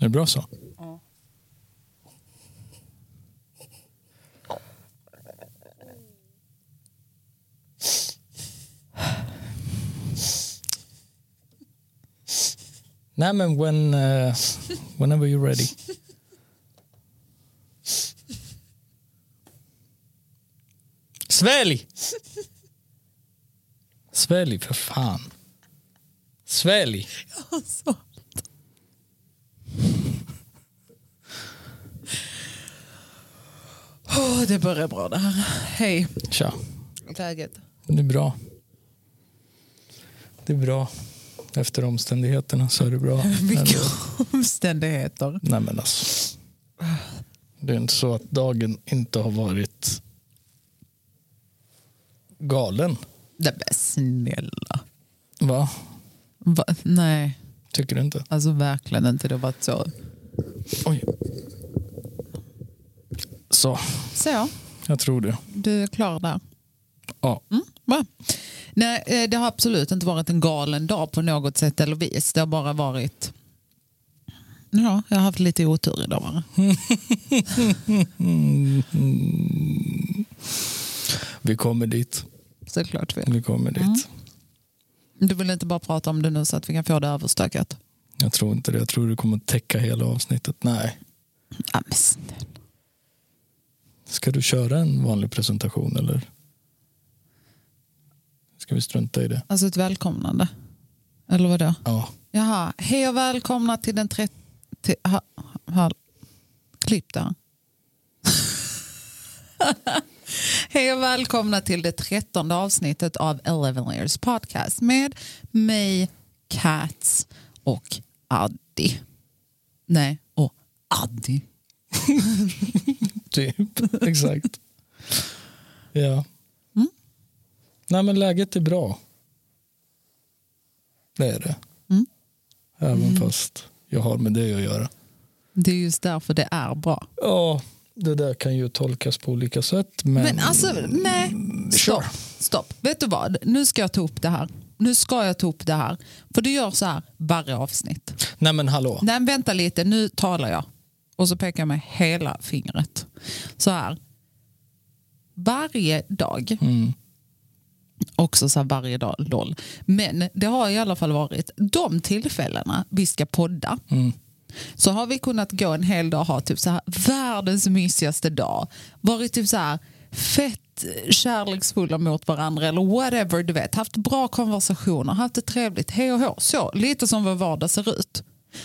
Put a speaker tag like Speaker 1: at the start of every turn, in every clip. Speaker 1: det bra så?
Speaker 2: Ja.
Speaker 1: Nej men when, eh, whenever you're ready. Svälj! Svälj för fan. Svälj.
Speaker 2: Alltså. Åh, det börjar bra det här. Hej.
Speaker 1: Tja,
Speaker 2: Läget?
Speaker 1: det är bra. Det är bra. Efter omständigheterna så är det bra.
Speaker 2: Vilka omständigheter.
Speaker 1: Nej men alltså. Det är inte så att dagen inte har varit galen.
Speaker 2: Nej men snälla.
Speaker 1: Va?
Speaker 2: Va? Nej,
Speaker 1: Tycker du inte?
Speaker 2: alltså verkligen inte. Det har varit så.
Speaker 1: Oj. Så,
Speaker 2: Så,
Speaker 1: jag tror det.
Speaker 2: du är klar där.
Speaker 1: Ja.
Speaker 2: Mm, bra. Nej, eh, det har absolut inte varit en galen dag på något sätt eller vis. Det har bara varit... Ja, jag har haft lite otur idag bara.
Speaker 1: Vi kommer dit.
Speaker 2: Såklart. vi-
Speaker 1: Vi kommer dit.
Speaker 2: Du vill inte bara prata om det nu så att vi kan få det överstökat?
Speaker 1: Jag tror inte det. Jag tror du kommer täcka hela avsnittet. Nej.
Speaker 2: Ja, men snälla.
Speaker 1: Ska du köra en vanlig presentation eller? Ska vi strunta i det?
Speaker 2: Alltså ett välkomnande. Eller vadå?
Speaker 1: Ja.
Speaker 2: Jaha, hej och välkomna till den 30... Ha, ha, klipp där. hej och välkomna till det trettonde avsnittet av Eleven Layers podcast med mig, Cats och Addi. Nej, och Addi.
Speaker 1: Typ. Exakt. Ja.
Speaker 2: Mm.
Speaker 1: Nej men läget är bra. Det är det.
Speaker 2: Mm.
Speaker 1: Även fast jag har med det att göra.
Speaker 2: Det är just därför det är bra.
Speaker 1: Ja, det där kan ju tolkas på olika sätt. Men, Mm,
Speaker 2: Men alltså, nej. Stopp. Stopp. Vet du vad? Nu ska jag ta upp det här. Nu ska jag ta upp det här. För du gör så här varje avsnitt.
Speaker 1: Nej men hallå.
Speaker 2: Nej, men vänta lite, nu talar jag. Och så pekar jag med hela fingret. Så här. Varje dag.
Speaker 1: Mm.
Speaker 2: Också så här varje dag, lol. Men det har i alla fall varit de tillfällena vi ska podda. Så har vi kunnat gå en hel dag och ha typ så här världens mysigaste dag. Varit typ så här fett kärleksfulla mot varandra eller whatever du vet. Haft bra konversationer, haft det trevligt, hej och hå. Så, lite som vår vardag ser ut.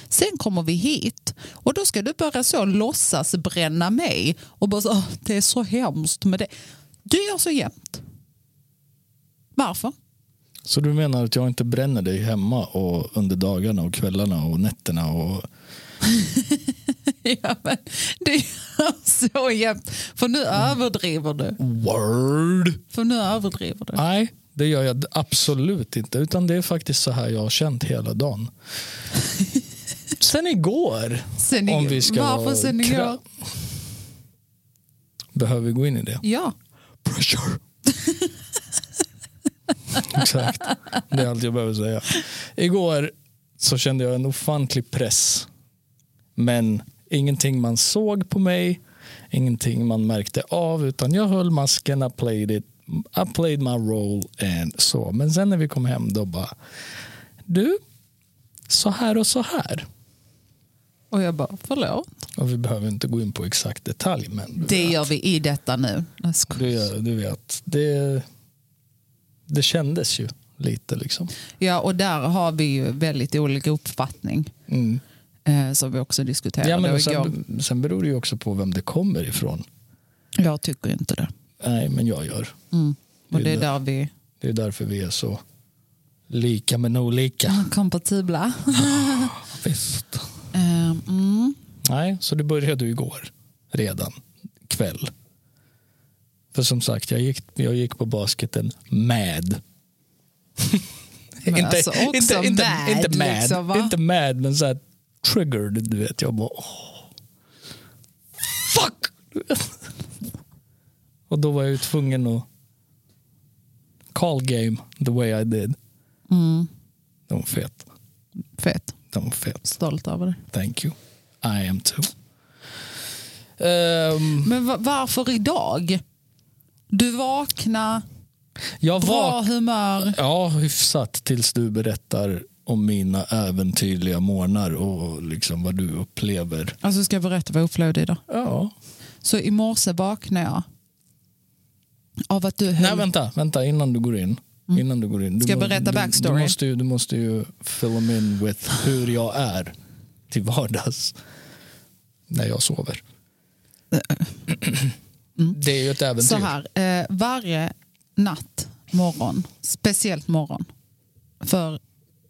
Speaker 2: Sen kommer vi hit och då ska du börja så låtsas bränna mig och bara så, "Åh, det är så hemskt med det. Du gör så jämt. Varför?
Speaker 1: Så du menar att jag inte bränner dig hemma och under dagarna och kvällarna och nätterna och
Speaker 2: Ja, men det gör så jämt. För nu
Speaker 1: Mm.
Speaker 2: överdriver du.
Speaker 1: word?
Speaker 2: För nu överdriver du.
Speaker 1: Nej, det gör jag absolut inte. Utan det är faktiskt så här jag har känt hela dagen. Sen igår.
Speaker 2: Sen igår.
Speaker 1: Om vi ska
Speaker 2: Varför
Speaker 1: vara
Speaker 2: sen
Speaker 1: kra-
Speaker 2: igår?
Speaker 1: Behöver vi gå in i det?
Speaker 2: Ja.
Speaker 1: Pressure. Exakt. Det är allt jag behöver säga. Igår så kände jag en ofantlig press. Men ingenting man såg på mig, ingenting man märkte av, utan jag höll masken, I played it, I played my role and så. Men sen när vi kom hem då bara, du, så här och så här.
Speaker 2: Och jag bara, förlåt.
Speaker 1: Och vi behöver inte gå in på exakt detalj, men
Speaker 2: Det gör vi i detta nu. Jag skojar.
Speaker 1: du, du vet, det, det kändes ju lite liksom.
Speaker 2: Ja, och där har vi ju väldigt olika uppfattning.
Speaker 1: Mm.
Speaker 2: Eh, som vi också diskuterade
Speaker 1: Ja, men och
Speaker 2: igår.
Speaker 1: sen, sen beror det ju också på vem det kommer ifrån.
Speaker 2: Jag tycker inte det.
Speaker 1: Nej, men jag gör.
Speaker 2: Mm. Och
Speaker 1: Det
Speaker 2: det
Speaker 1: är
Speaker 2: är där vi
Speaker 1: Det är därför vi är så lika men olika.
Speaker 2: är kompatibla.
Speaker 1: Visst.
Speaker 2: Eh, mm.
Speaker 1: Nej, så det började ju igår redan kväll. För som sagt, jag gick, jag gick på basketen med.
Speaker 2: Men alltså också
Speaker 1: inte,
Speaker 2: mad,
Speaker 1: inte mad,
Speaker 2: liksom, va?
Speaker 1: inte mad, men så här triggered, du vet. Jag bara, åh. Fuck! Och då var jag ju tvungen att call game the way I did.
Speaker 2: Mm.
Speaker 1: De var fet.
Speaker 2: Fett.
Speaker 1: De var fet.
Speaker 2: Stolt över det.
Speaker 1: Thank you. I am too. Ehm,
Speaker 2: Men va- varför idag? Du vakna,
Speaker 1: jag
Speaker 2: bra
Speaker 1: var
Speaker 2: humör.
Speaker 1: ja, hyfsat tills du berättar om mina äventyrliga morgnar och liksom vad du upplever.
Speaker 2: Alltså ska jag berätta vad jag upplevde idag?
Speaker 1: Ja.
Speaker 2: Så i morse vaknade jag av att du höll...
Speaker 1: Nej, vänta, vänta innan du går in. Innan du går in. Du
Speaker 2: Mm. Ska jag
Speaker 1: må- du,
Speaker 2: berätta backstoryn?
Speaker 1: Du måste, ju, du måste ju fill 'em in with hur jag är till vardags när jag sover. Det är ju ett äventyr.
Speaker 2: Mm. Så här, eh, varje natt, morgon, speciellt morgon. För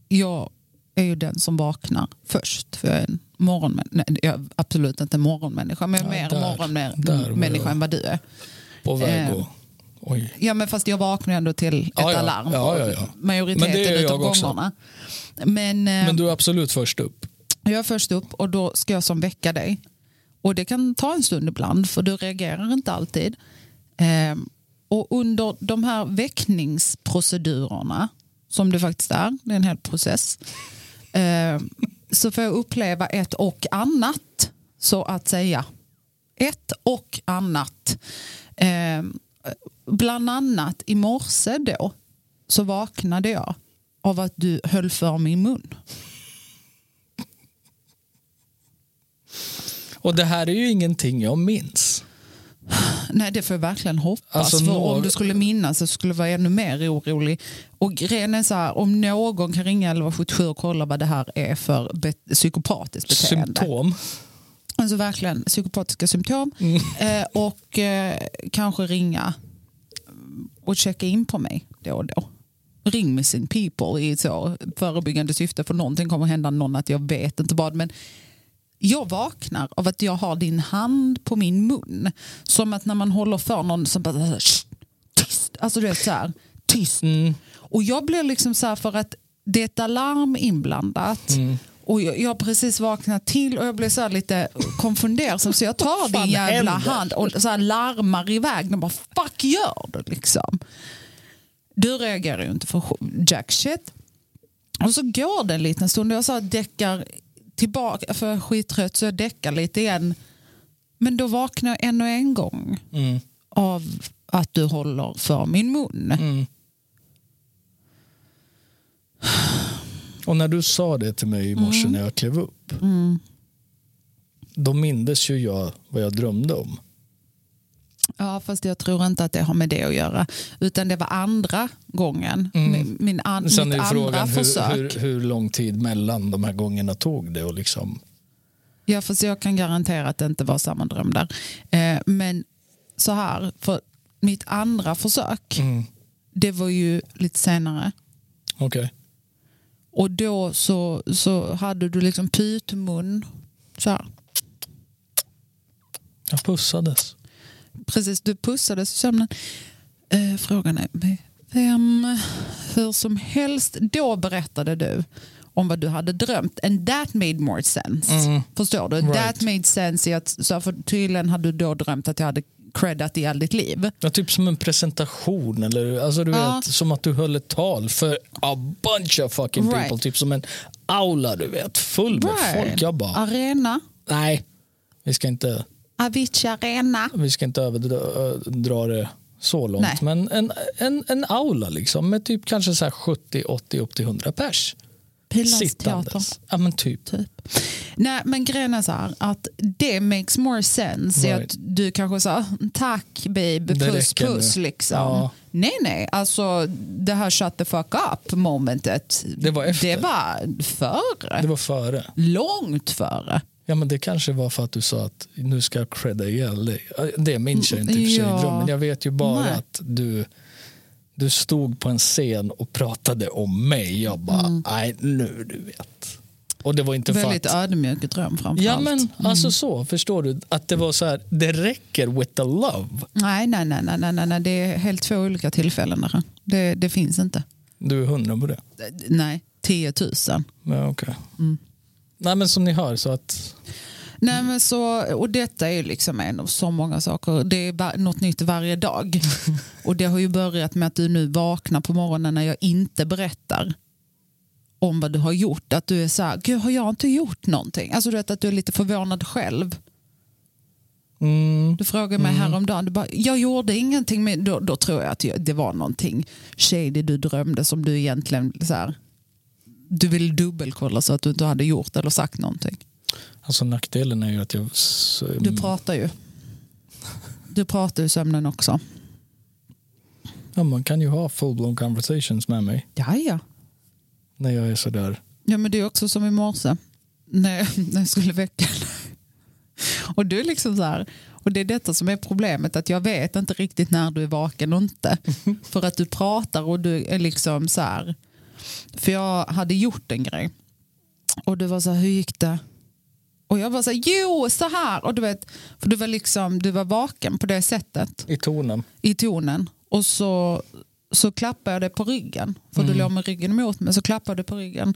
Speaker 2: jag är ju den som vaknar först. För jag är en morgonmänniska. Nej, jag är absolut inte en morgonmänniska, men jag är
Speaker 1: Nej,
Speaker 2: mer
Speaker 1: där- där var jag.
Speaker 2: morgonmänniska än vad du är.
Speaker 1: På väg
Speaker 2: eh,
Speaker 1: och, Oj.
Speaker 2: Ja, men fast jag vaknar ju ändå till ett
Speaker 1: Ja, ja.
Speaker 2: alarm.
Speaker 1: Ja, ja, ja. Men det
Speaker 2: Majoriteten
Speaker 1: är
Speaker 2: utav
Speaker 1: jag också.
Speaker 2: gångerna. Men, eh,
Speaker 1: Men du är absolut först upp.
Speaker 2: jag är först upp och då ska jag som väcka dig. Och det kan ta en stund ibland för du reagerar inte alltid. Ehm, och under de här väckningsprocedurerna som det faktiskt är, det är en hel process. ehm, så får jag uppleva ett och annat så att säga. Ett och annat. Ehm, bland annat i morse då så vaknade jag av att du höll för min mun.
Speaker 1: Och det här är ju ingenting jag minns.
Speaker 2: Nej, det får jag verkligen hoppas.
Speaker 1: Alltså,
Speaker 2: för
Speaker 1: några-
Speaker 2: Om du skulle minnas så skulle jag vara ännu mer orolig. Och grejen är så här, om någon kan ringa 1177 och kolla vad det här är för be- psykopatiskt beteende.
Speaker 1: Symptom.
Speaker 2: Alltså verkligen psykopatiska symptom.
Speaker 1: Mm.
Speaker 2: Eh, och eh, kanske ringa och checka in på mig då och då. Ring missing people i så förebyggande syfte för någonting kommer hända någon att jag vet inte vad. Men jag vaknar av att jag har din hand på min mun. Som att när man håller för någon som bara "Shh, tyst. Alltså du vet så här, tyst.
Speaker 1: Mm.
Speaker 2: Och jag blir liksom så här för att det är ett alarm inblandat.
Speaker 1: Mm.
Speaker 2: Och jag, jag har precis vaknat till och jag blir så här lite konfunderad. Så jag tar
Speaker 1: fan
Speaker 2: din jävla
Speaker 1: händer?
Speaker 2: hand och så här larmar iväg. De bara fuck gör du liksom. Du reagerar ju inte för jack shit. Och så går det en liten stund och jag så här däckar tillbaka, för jag är skittrött så jag däckar lite igen. Men då vaknar jag ännu en gång
Speaker 1: Mm.
Speaker 2: av att du håller för min mun.
Speaker 1: Och när du sa det till mig i
Speaker 2: Mm.
Speaker 1: morse när jag klev upp. Då mindes ju jag vad jag drömde om.
Speaker 2: Ja, fast jag tror inte att det har med det att göra. Utan det var andra gången. Min, min an, mitt
Speaker 1: Sen är
Speaker 2: andra
Speaker 1: ju frågan
Speaker 2: försök.
Speaker 1: hur, hur, hur lång tid mellan de här gångerna tog det och liksom
Speaker 2: Ja, fast jag kan garantera att det inte var samma dröm där. Eh, men så här, för mitt andra försök, det var ju lite senare.
Speaker 1: Okej.
Speaker 2: Och då så, så hade du liksom pytmun. Så här.
Speaker 1: Jag pussades.
Speaker 2: Precis, du pussades i sömnen. Eh, frågan är med vem? Hur som helst, då berättade du om vad du hade drömt. And that made more sense. Förstår du?
Speaker 1: Mm. Right.
Speaker 2: That made sense i att, så här, för tydligen hade du då drömt att jag hade creddat i all ditt liv.
Speaker 1: Ja, typ som en presentation eller alltså, du
Speaker 2: Ja.
Speaker 1: vet, som att du höll ett tal för a bunch of fucking
Speaker 2: Right.
Speaker 1: people. Typ som en aula du vet, full med
Speaker 2: Right.
Speaker 1: folk. Jag bara,
Speaker 2: Arena.
Speaker 1: nej, vi ska inte,
Speaker 2: Avicii Arena.
Speaker 1: vi ska inte överdra ö, dra det så långt.
Speaker 2: Nej.
Speaker 1: Men en, en, en aula liksom med typ kanske så här 70, 80, upp till 100 pers.
Speaker 2: Pilans teater.
Speaker 1: Sittandes. Ja men typ.
Speaker 2: Typ. Nej, men grejen är så här att det makes more sense i
Speaker 1: Right.
Speaker 2: att du kanske sa tack babe,
Speaker 1: Det
Speaker 2: puss
Speaker 1: räcker nu."
Speaker 2: puss liksom.
Speaker 1: Ja.
Speaker 2: Nej, nej, alltså det här shut the fuck up momentet.
Speaker 1: Det var efter.
Speaker 2: Det var före.
Speaker 1: Det var före.
Speaker 2: Långt före.
Speaker 1: Ja men det kanske var för att du sa att nu ska jag credda ihjäl dig. Det minns jag inte i och för sig i
Speaker 2: Ja.
Speaker 1: drömmen. Jag vet ju bara
Speaker 2: Nej.
Speaker 1: att du, du stod på en scen och pratade om mig. Jag bara, nej nu du vet. Och det var inte för
Speaker 2: Mm. Väldigt
Speaker 1: att...
Speaker 2: ödmjuk dröm framför
Speaker 1: Ja
Speaker 2: allt. Mm.
Speaker 1: men alltså så, förstår du? Att det var så här, det räcker with the love.
Speaker 2: Nej, nej, nej, nej, nej, nej, nej, det är helt två olika tillfällen. Där. Det, det finns inte.
Speaker 1: Du är hundra på det?
Speaker 2: Nej, 10 000.
Speaker 1: Ja, okej.
Speaker 2: Mm.
Speaker 1: Nej men som ni hör så att,
Speaker 2: Nej, men så, och detta är ju liksom en av så många saker. Det är va- något nytt varje dag. Och det har ju börjat med att du nu vaknar på morgonen när jag inte berättar om vad du har gjort. Att du är så här, gud har jag inte gjort någonting? Alltså du vet att du är lite förvånad själv.
Speaker 1: Mm.
Speaker 2: Du frågade mig häromdagen, du bara, jag gjorde ingenting, men då, då tror jag att jag, det var någonting shady du drömde som du egentligen så här, du ville dubbelkolla så att du inte hade gjort eller sagt någonting.
Speaker 1: Alltså nackdelen är ju att jag... s-
Speaker 2: Du pratar ju. Du pratar ju i sömnen också.
Speaker 1: ja, man kan ju ha full-blown conversations med mig
Speaker 2: Ja, ja.
Speaker 1: när jag är sådär.
Speaker 2: Ja, men det är också som i morse när jag, när jag skulle väcka dig. Och du är liksom så här, och det är detta som är problemet, att jag vet inte riktigt när du är vaken och inte. För att du pratar och du är liksom så här, för jag hade gjort en grej. Och du var så här, hur gick det? Och jag var så här, jo, så här. Och du vet, för du var liksom, du var vaken på det sättet
Speaker 1: I tonen.
Speaker 2: i tonen och så, så klappade jag dig på ryggen. För du låg med ryggen mot mig så klappade jag dig på ryggen.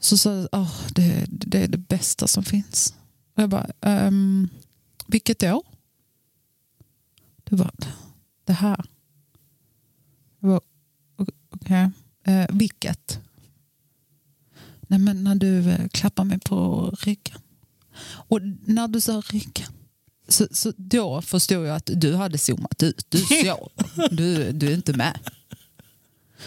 Speaker 2: Så sa jag, "Åh, det, det är det bästa som finns. Och jag bara, ehm, vilket då? Du bara, det här. Jag bara, "Ok- okej, eh, vilket? Nej men när du eh, klappar mig på ryggen. Och när du sa ryggen så, så då förstod jag att du hade zoomat ut. Du såg. Du, du är inte med.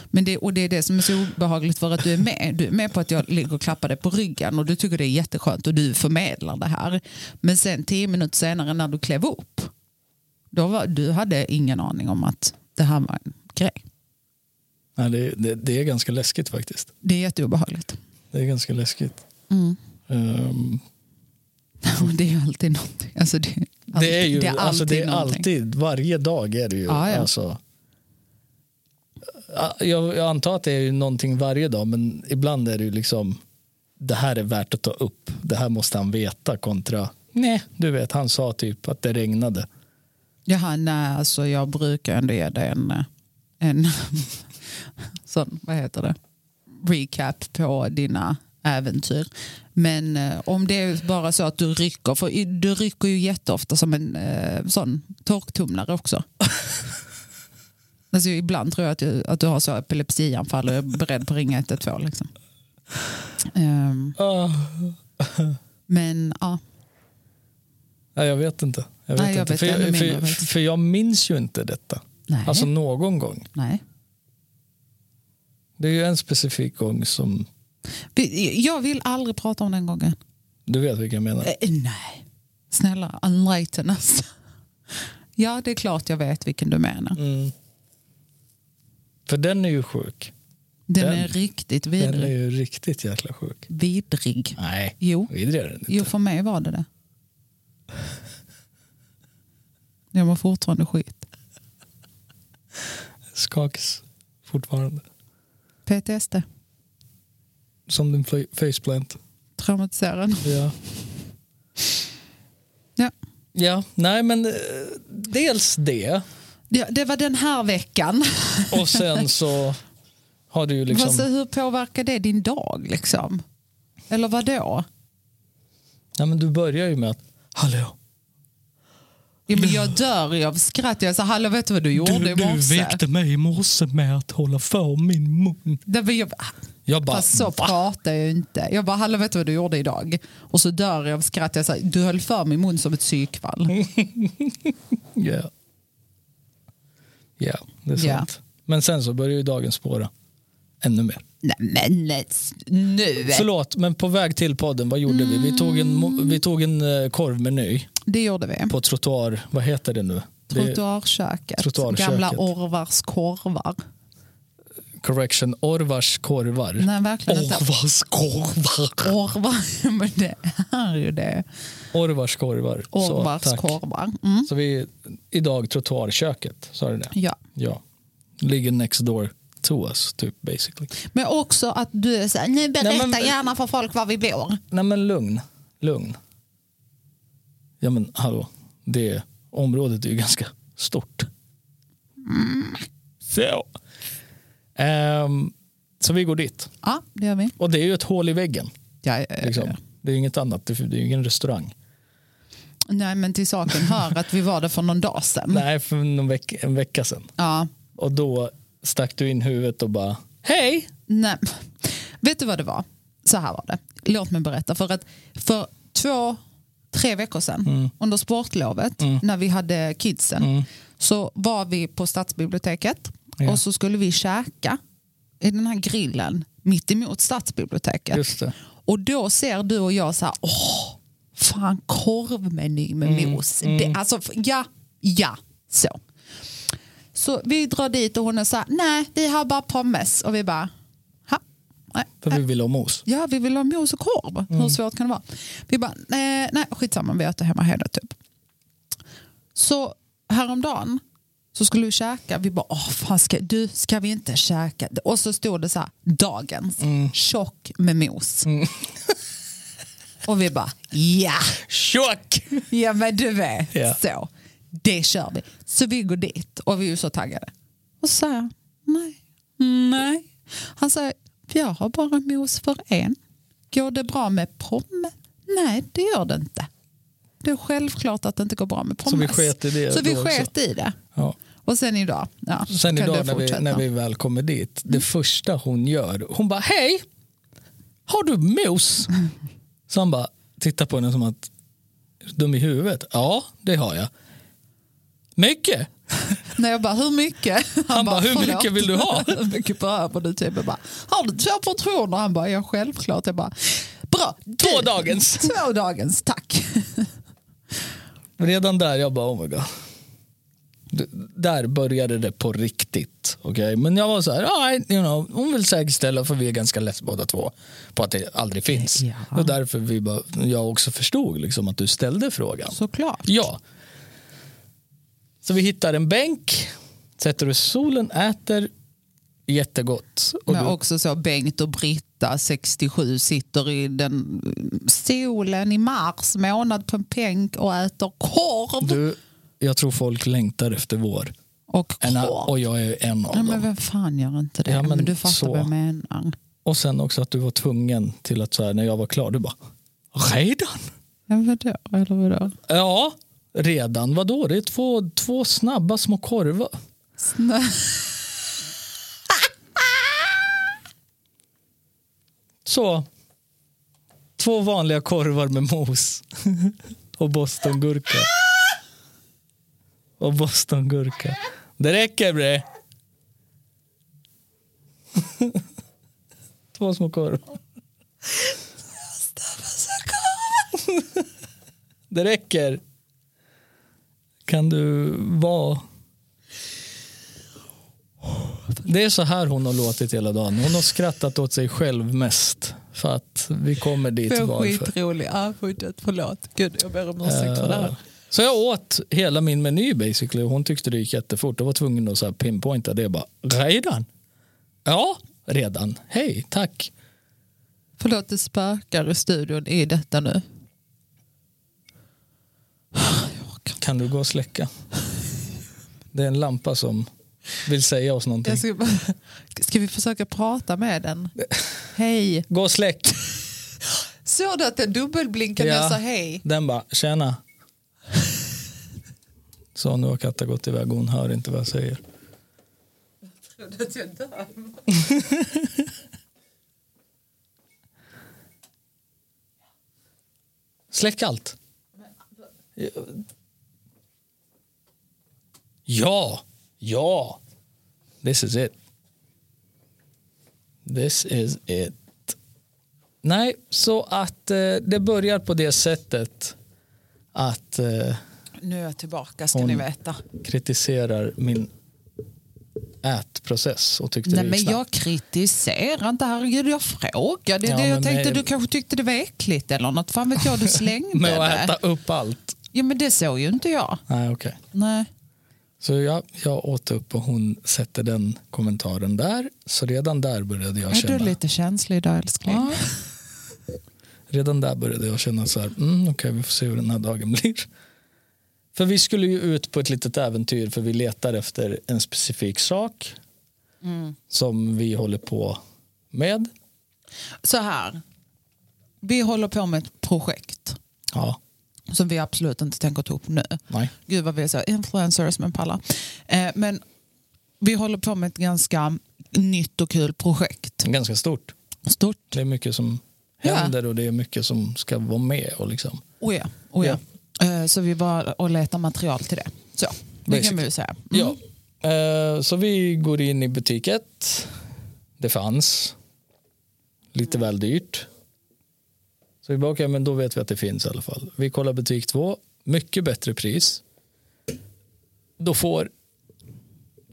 Speaker 2: Men det, och det är det som är så obehagligt för att du är med. Du är med på att jag ligger och klappar dig på ryggen och du tycker det är jätteskönt och du förmedlar det här. Men sen tio minuter senare när du klev upp, då var, du hade ingen aning om att det här var en grej.
Speaker 1: Nej, det, det, det är ganska läskigt faktiskt.
Speaker 2: Det är jätteobehagligt.
Speaker 1: Det är ganska läskigt.
Speaker 2: Mm.
Speaker 1: Ehm,
Speaker 2: Och det är ju alltid någonting. Alltså det, är alltid-
Speaker 1: det är ju
Speaker 2: det är alltid,
Speaker 1: alltså, det är
Speaker 2: någonting.
Speaker 1: alltid varje dag är det ju.
Speaker 2: Ja, ja.
Speaker 1: Alltså, Ja, jag, jag antar att det är ju någonting varje dag men ibland är det ju liksom det här är värt att ta upp. Det här måste han veta kontra nej, du vet han sa typ att det regnade.
Speaker 2: Jaha, nej, alltså jag brukar ändå ge dig en, eh, en sån, vad heter det, recap på dina äventyr. Men eh, om det är bara så att du rycker, för i- du rycker ju jätteofta som en eh, sån torktumlare också. Alltså ibland tror jag att du, att du har så epilepsianfall och är beredd på att ringa 112. Liksom. Ehm,
Speaker 1: Ah,
Speaker 2: men ja,
Speaker 1: nej, jag vet inte. Jag vet
Speaker 2: Nej, jag
Speaker 1: inte.
Speaker 2: vet
Speaker 1: för,
Speaker 2: ännu
Speaker 1: jag,
Speaker 2: mindre
Speaker 1: för,
Speaker 2: faktiskt.
Speaker 1: för jag minns ju inte detta.
Speaker 2: nej.
Speaker 1: Alltså någon gång.
Speaker 2: nej.
Speaker 1: Det är ju en specifik gång som
Speaker 2: Vi- Jag vill aldrig prata om den gången.
Speaker 1: du vet vilken jag menar.
Speaker 2: Eh, nej. Snälla, enlighten us. Ja, det är klart jag vet vilken du menar.
Speaker 1: Mm. För den är ju sjuk.
Speaker 2: Den,
Speaker 1: Den-
Speaker 2: är riktigt
Speaker 1: Den
Speaker 2: vidrig.
Speaker 1: är ju riktigt jäkla sjuk.
Speaker 2: Vidrig.
Speaker 1: Nej,
Speaker 2: Jo.
Speaker 1: vidrig är den inte.
Speaker 2: jo, för mig var det det. Jag mår fortfarande skit.
Speaker 1: Skakas fortfarande.
Speaker 2: PTSD.
Speaker 1: Som din fla- faceplant.
Speaker 2: Traumatiserad.
Speaker 1: Ja.
Speaker 2: Ja.
Speaker 1: ja, nej men eh, dels det
Speaker 2: Ja, det var den här veckan.
Speaker 1: och sen så har du ju
Speaker 2: Fast
Speaker 1: liksom...
Speaker 2: hur påverkar det din dag? liksom? Eller vad då?
Speaker 1: Nej, men du börjar ju med att hallå,
Speaker 2: Ja, men jag dör ju av skratt. Jag sa, hallå vet du vad du gjorde i morse?
Speaker 1: mig i morse med att hålla för min mun.
Speaker 2: Det var jag,
Speaker 1: Jag bara,
Speaker 2: Fast så pratar jag ju inte. Jag bara, hallå vet du vad du gjorde idag? Och så dör jag av skratt. Jag säger, du höll för min mun som
Speaker 1: Mm.
Speaker 2: ett psykfall.
Speaker 1: ja. Ja, det är sant.
Speaker 2: Ja.
Speaker 1: Men sen så börjar ju dagen spåra ännu mer.
Speaker 2: Nej men s- nu.
Speaker 1: Förlåt, men på väg till podden, vad gjorde vi? Vi tog en, mo- vi tog en eh, korvmeny
Speaker 2: Det gjorde vi.
Speaker 1: på trottoar, vad heter det nu? Det,
Speaker 2: Trottoarköket.
Speaker 1: Trottoarköket.
Speaker 2: Gamla Orvars korvar.
Speaker 1: correction, Orvars korvar.
Speaker 2: Nej verkligen inte.
Speaker 1: Orvars korvar.
Speaker 2: Orvar. Men det är ju det.
Speaker 1: Orvars korvar.
Speaker 2: Orvars
Speaker 1: så, tack.
Speaker 2: korvar. Mm.
Speaker 1: Så vi, idag trottoarköket, sa du det?
Speaker 2: Ja.
Speaker 1: Ja. Ligger next door to us, typ basically.
Speaker 2: Men också att du är så här, nu berätta
Speaker 1: Nej, men-
Speaker 2: gärna för folk var vi bor.
Speaker 1: Nej men lugn, lugn. Ja men hallå, det området är ju ganska stort. Så. Ehm, så vi går dit.
Speaker 2: Ja, det gör vi.
Speaker 1: Och det är ju ett hål i väggen.
Speaker 2: Ja, ja, ja,
Speaker 1: Liksom.
Speaker 2: ja. Mm.
Speaker 1: Det är ju inget annat, det är det är ju ingen restaurang.
Speaker 2: Nej men till saken hör att vi var där för någon dag sedan.
Speaker 1: Nej, för någon veck, en vecka sedan.
Speaker 2: Ja,
Speaker 1: Och då stack du in huvudet och bara, hej!
Speaker 2: Nej. Vet du vad det var? Så här var det. Låt mig berätta. För att för två, tre veckor sedan
Speaker 1: Mm.
Speaker 2: under sportlovet när vi hade kidsen så var vi på stadsbiblioteket
Speaker 1: Ja.
Speaker 2: och så skulle vi käka i den här grillen mitt emot stadsbiblioteket.
Speaker 1: Just det.
Speaker 2: Och då ser du och jag så här, åh, fan korvmeny med
Speaker 1: Mm,
Speaker 2: mos. Det, alltså, f- ja, ja, så. Så vi drar dit och hon är så här, nej, vi har bara pommes. Och vi bara, ha, nej,
Speaker 1: För vi vill ha mos.
Speaker 2: ja, vi vill ha mos och korv. Hur svårt kan det vara? Vi bara, nej, nej skitsamma, vi äter hemma hela typ. Så häromdagen så skulle vi käka. Vi bara, åh fan, ska, du, ska vi inte käka? Och så stod det så här, dagens, tjock med mos. och vi bara, ja,
Speaker 1: Tjock!
Speaker 2: ja men du vet,
Speaker 1: Ja.
Speaker 2: så. Det kör vi. Så vi går dit och vi är ju så taggade. Och så säger han, nej, nej. Han säger, jag har bara mos för en. Går det bra med pomme? Nej, det gör det inte. Det är självklart att det inte går bra med pommes.
Speaker 1: vi sket i det
Speaker 2: Så vi
Speaker 1: då också.
Speaker 2: sket i det.
Speaker 1: Ja.
Speaker 2: Och sen idag. Ja,
Speaker 1: Sen
Speaker 2: kan
Speaker 1: idag
Speaker 2: du
Speaker 1: när vi,
Speaker 2: fortsätta. Mm.
Speaker 1: när vi väl kommer dit, det första hon gör, hon bara hej, har du mos? Så han bara tittar på henne som att, "Är du dum i huvudet? Ja, det har jag. Mycket?
Speaker 2: När jag bara, hur mycket? Han,
Speaker 1: bara, "Hur mycket vill du ha?"
Speaker 2: hur mycket behöver du? Typ. Jag bara, har du två portioner? Han bara, ja självklart. Jag bara, bra.
Speaker 1: Två
Speaker 2: du-
Speaker 1: dagens."
Speaker 2: Två dagens, tack.
Speaker 1: Redan där, jag bara oh my god. D- Där började det på riktigt. Okay? Men jag var så här, all right, you know, hon vill säkerställa för vi är ganska less båda två på att det aldrig finns.
Speaker 2: Ja.
Speaker 1: Och därför vi bara, jag också förstod liksom att du ställde frågan.
Speaker 2: Såklart.
Speaker 1: Ja. Så vi hittar en bänk, sätter oss i solen, äter jättegott. Och
Speaker 2: Men
Speaker 1: du,
Speaker 2: också så Bengt och Britta, 67, sitter i den solen i mars månad på en bänk och äter korv.
Speaker 1: du, jag tror folk längtar efter vår.
Speaker 2: och
Speaker 1: En,
Speaker 2: korv.
Speaker 1: och jag är en av
Speaker 2: ja, men
Speaker 1: dem.
Speaker 2: vem fan gör inte det?
Speaker 1: Ja, men
Speaker 2: men, du fattar
Speaker 1: så.
Speaker 2: vad jag menar.
Speaker 1: Och sen också att du var tvungen till att så här, när jag var klar, du bara redan?
Speaker 2: Ja, vadå? Eller vadå?
Speaker 1: Ja, redan. Vadå? Det är två, två snabba små korvar.
Speaker 2: Snö.
Speaker 1: Så, två vanliga korvar med mos och bostongurka. Och bostongurka. Det räcker bre. Två små korvar. Det räcker. Kan du vara... Det är så här hon har låtit hela dagen. Hon har skrattat åt sig själv mest. För att vi kommer dit
Speaker 2: Det var
Speaker 1: varför.
Speaker 2: skitrolig. Ah, fortsätt, förlåt. Gud, jag ber om ursäkt för det
Speaker 1: Eh,
Speaker 2: här.
Speaker 1: Så jag åt hela min meny basically. Hon tyckte det gick jättefort. Jag var tvungen att så här pinpointa det. Jag Bara, redan? Ja, redan. Hej, tack.
Speaker 2: Förlåt, det spökar i studion i detta nu. Jag orkar
Speaker 1: Kan du gå och släcka? Det är en lampa som vill säga oss någonting.
Speaker 2: Jag ska, bara- ska vi försöka prata med den? Hej.
Speaker 1: Gå och släck.
Speaker 2: Såg du att den dubbelblinkade när
Speaker 1: Ja.
Speaker 2: jag sa hej?
Speaker 1: Den bara, tjena. Så nu har Katta gått iväg hon hör inte vad jag säger.
Speaker 2: Trodde att jag dör.
Speaker 1: Släck allt. Ja, ja. This is it. This is it. Nej, så att eh, det börjar på det sättet att eh,
Speaker 2: Nu är jag tillbaka ska
Speaker 1: Hon-
Speaker 2: ni veta.
Speaker 1: kritiserar min ätprocess och tyckte
Speaker 2: Nej,
Speaker 1: det
Speaker 2: men
Speaker 1: gick snabbt.
Speaker 2: jag kritiserar inte, herregud jag frågade.
Speaker 1: Ja,
Speaker 2: det,
Speaker 1: men
Speaker 2: jag tänkte
Speaker 1: nej.
Speaker 2: du kanske tyckte det var äckligt eller något. Fan vet jag, du slängde
Speaker 1: Med att
Speaker 2: det.
Speaker 1: äta upp allt.
Speaker 2: Ja, men det såg ju inte jag.
Speaker 1: Nej, okej.
Speaker 2: Nej.
Speaker 1: Så jag, jag åt upp och hon sätter den kommentaren där. Så redan där började jag
Speaker 2: Är du
Speaker 1: känna...
Speaker 2: lite känslig idag älskling?
Speaker 1: Ja. Redan där började jag känna så här, mm, okej vi får se hur den här dagen blir. För vi skulle ju ut på ett litet äventyr för vi letar efter en specifik sak
Speaker 2: Mm.
Speaker 1: som vi håller på med.
Speaker 2: Så här, vi håller på med ett projekt
Speaker 1: Ja,
Speaker 2: som vi absolut inte tänker ta upp nu.
Speaker 1: nej.
Speaker 2: Gud vad vi är så influencers men pallar. Eh, men vi håller på med ett ganska nytt och kul projekt.
Speaker 1: Ganska stort.
Speaker 2: Stort.
Speaker 1: Det är mycket som
Speaker 2: Ja.
Speaker 1: händer och det är mycket som ska vara med. Och liksom.
Speaker 2: Oh ja, oh ja. Eh, Så vi var och letade material till det. Så, det kan
Speaker 1: Basically.
Speaker 2: vi ju säga. Mm.
Speaker 1: Ja. Eh, Så vi går in i butiket. Det fanns. Lite
Speaker 2: Mm.
Speaker 1: väl dyrt. Så vi bara, okej, men då vet vi att det finns i alla fall. Vi kollar butik två. Mycket bättre pris. Då får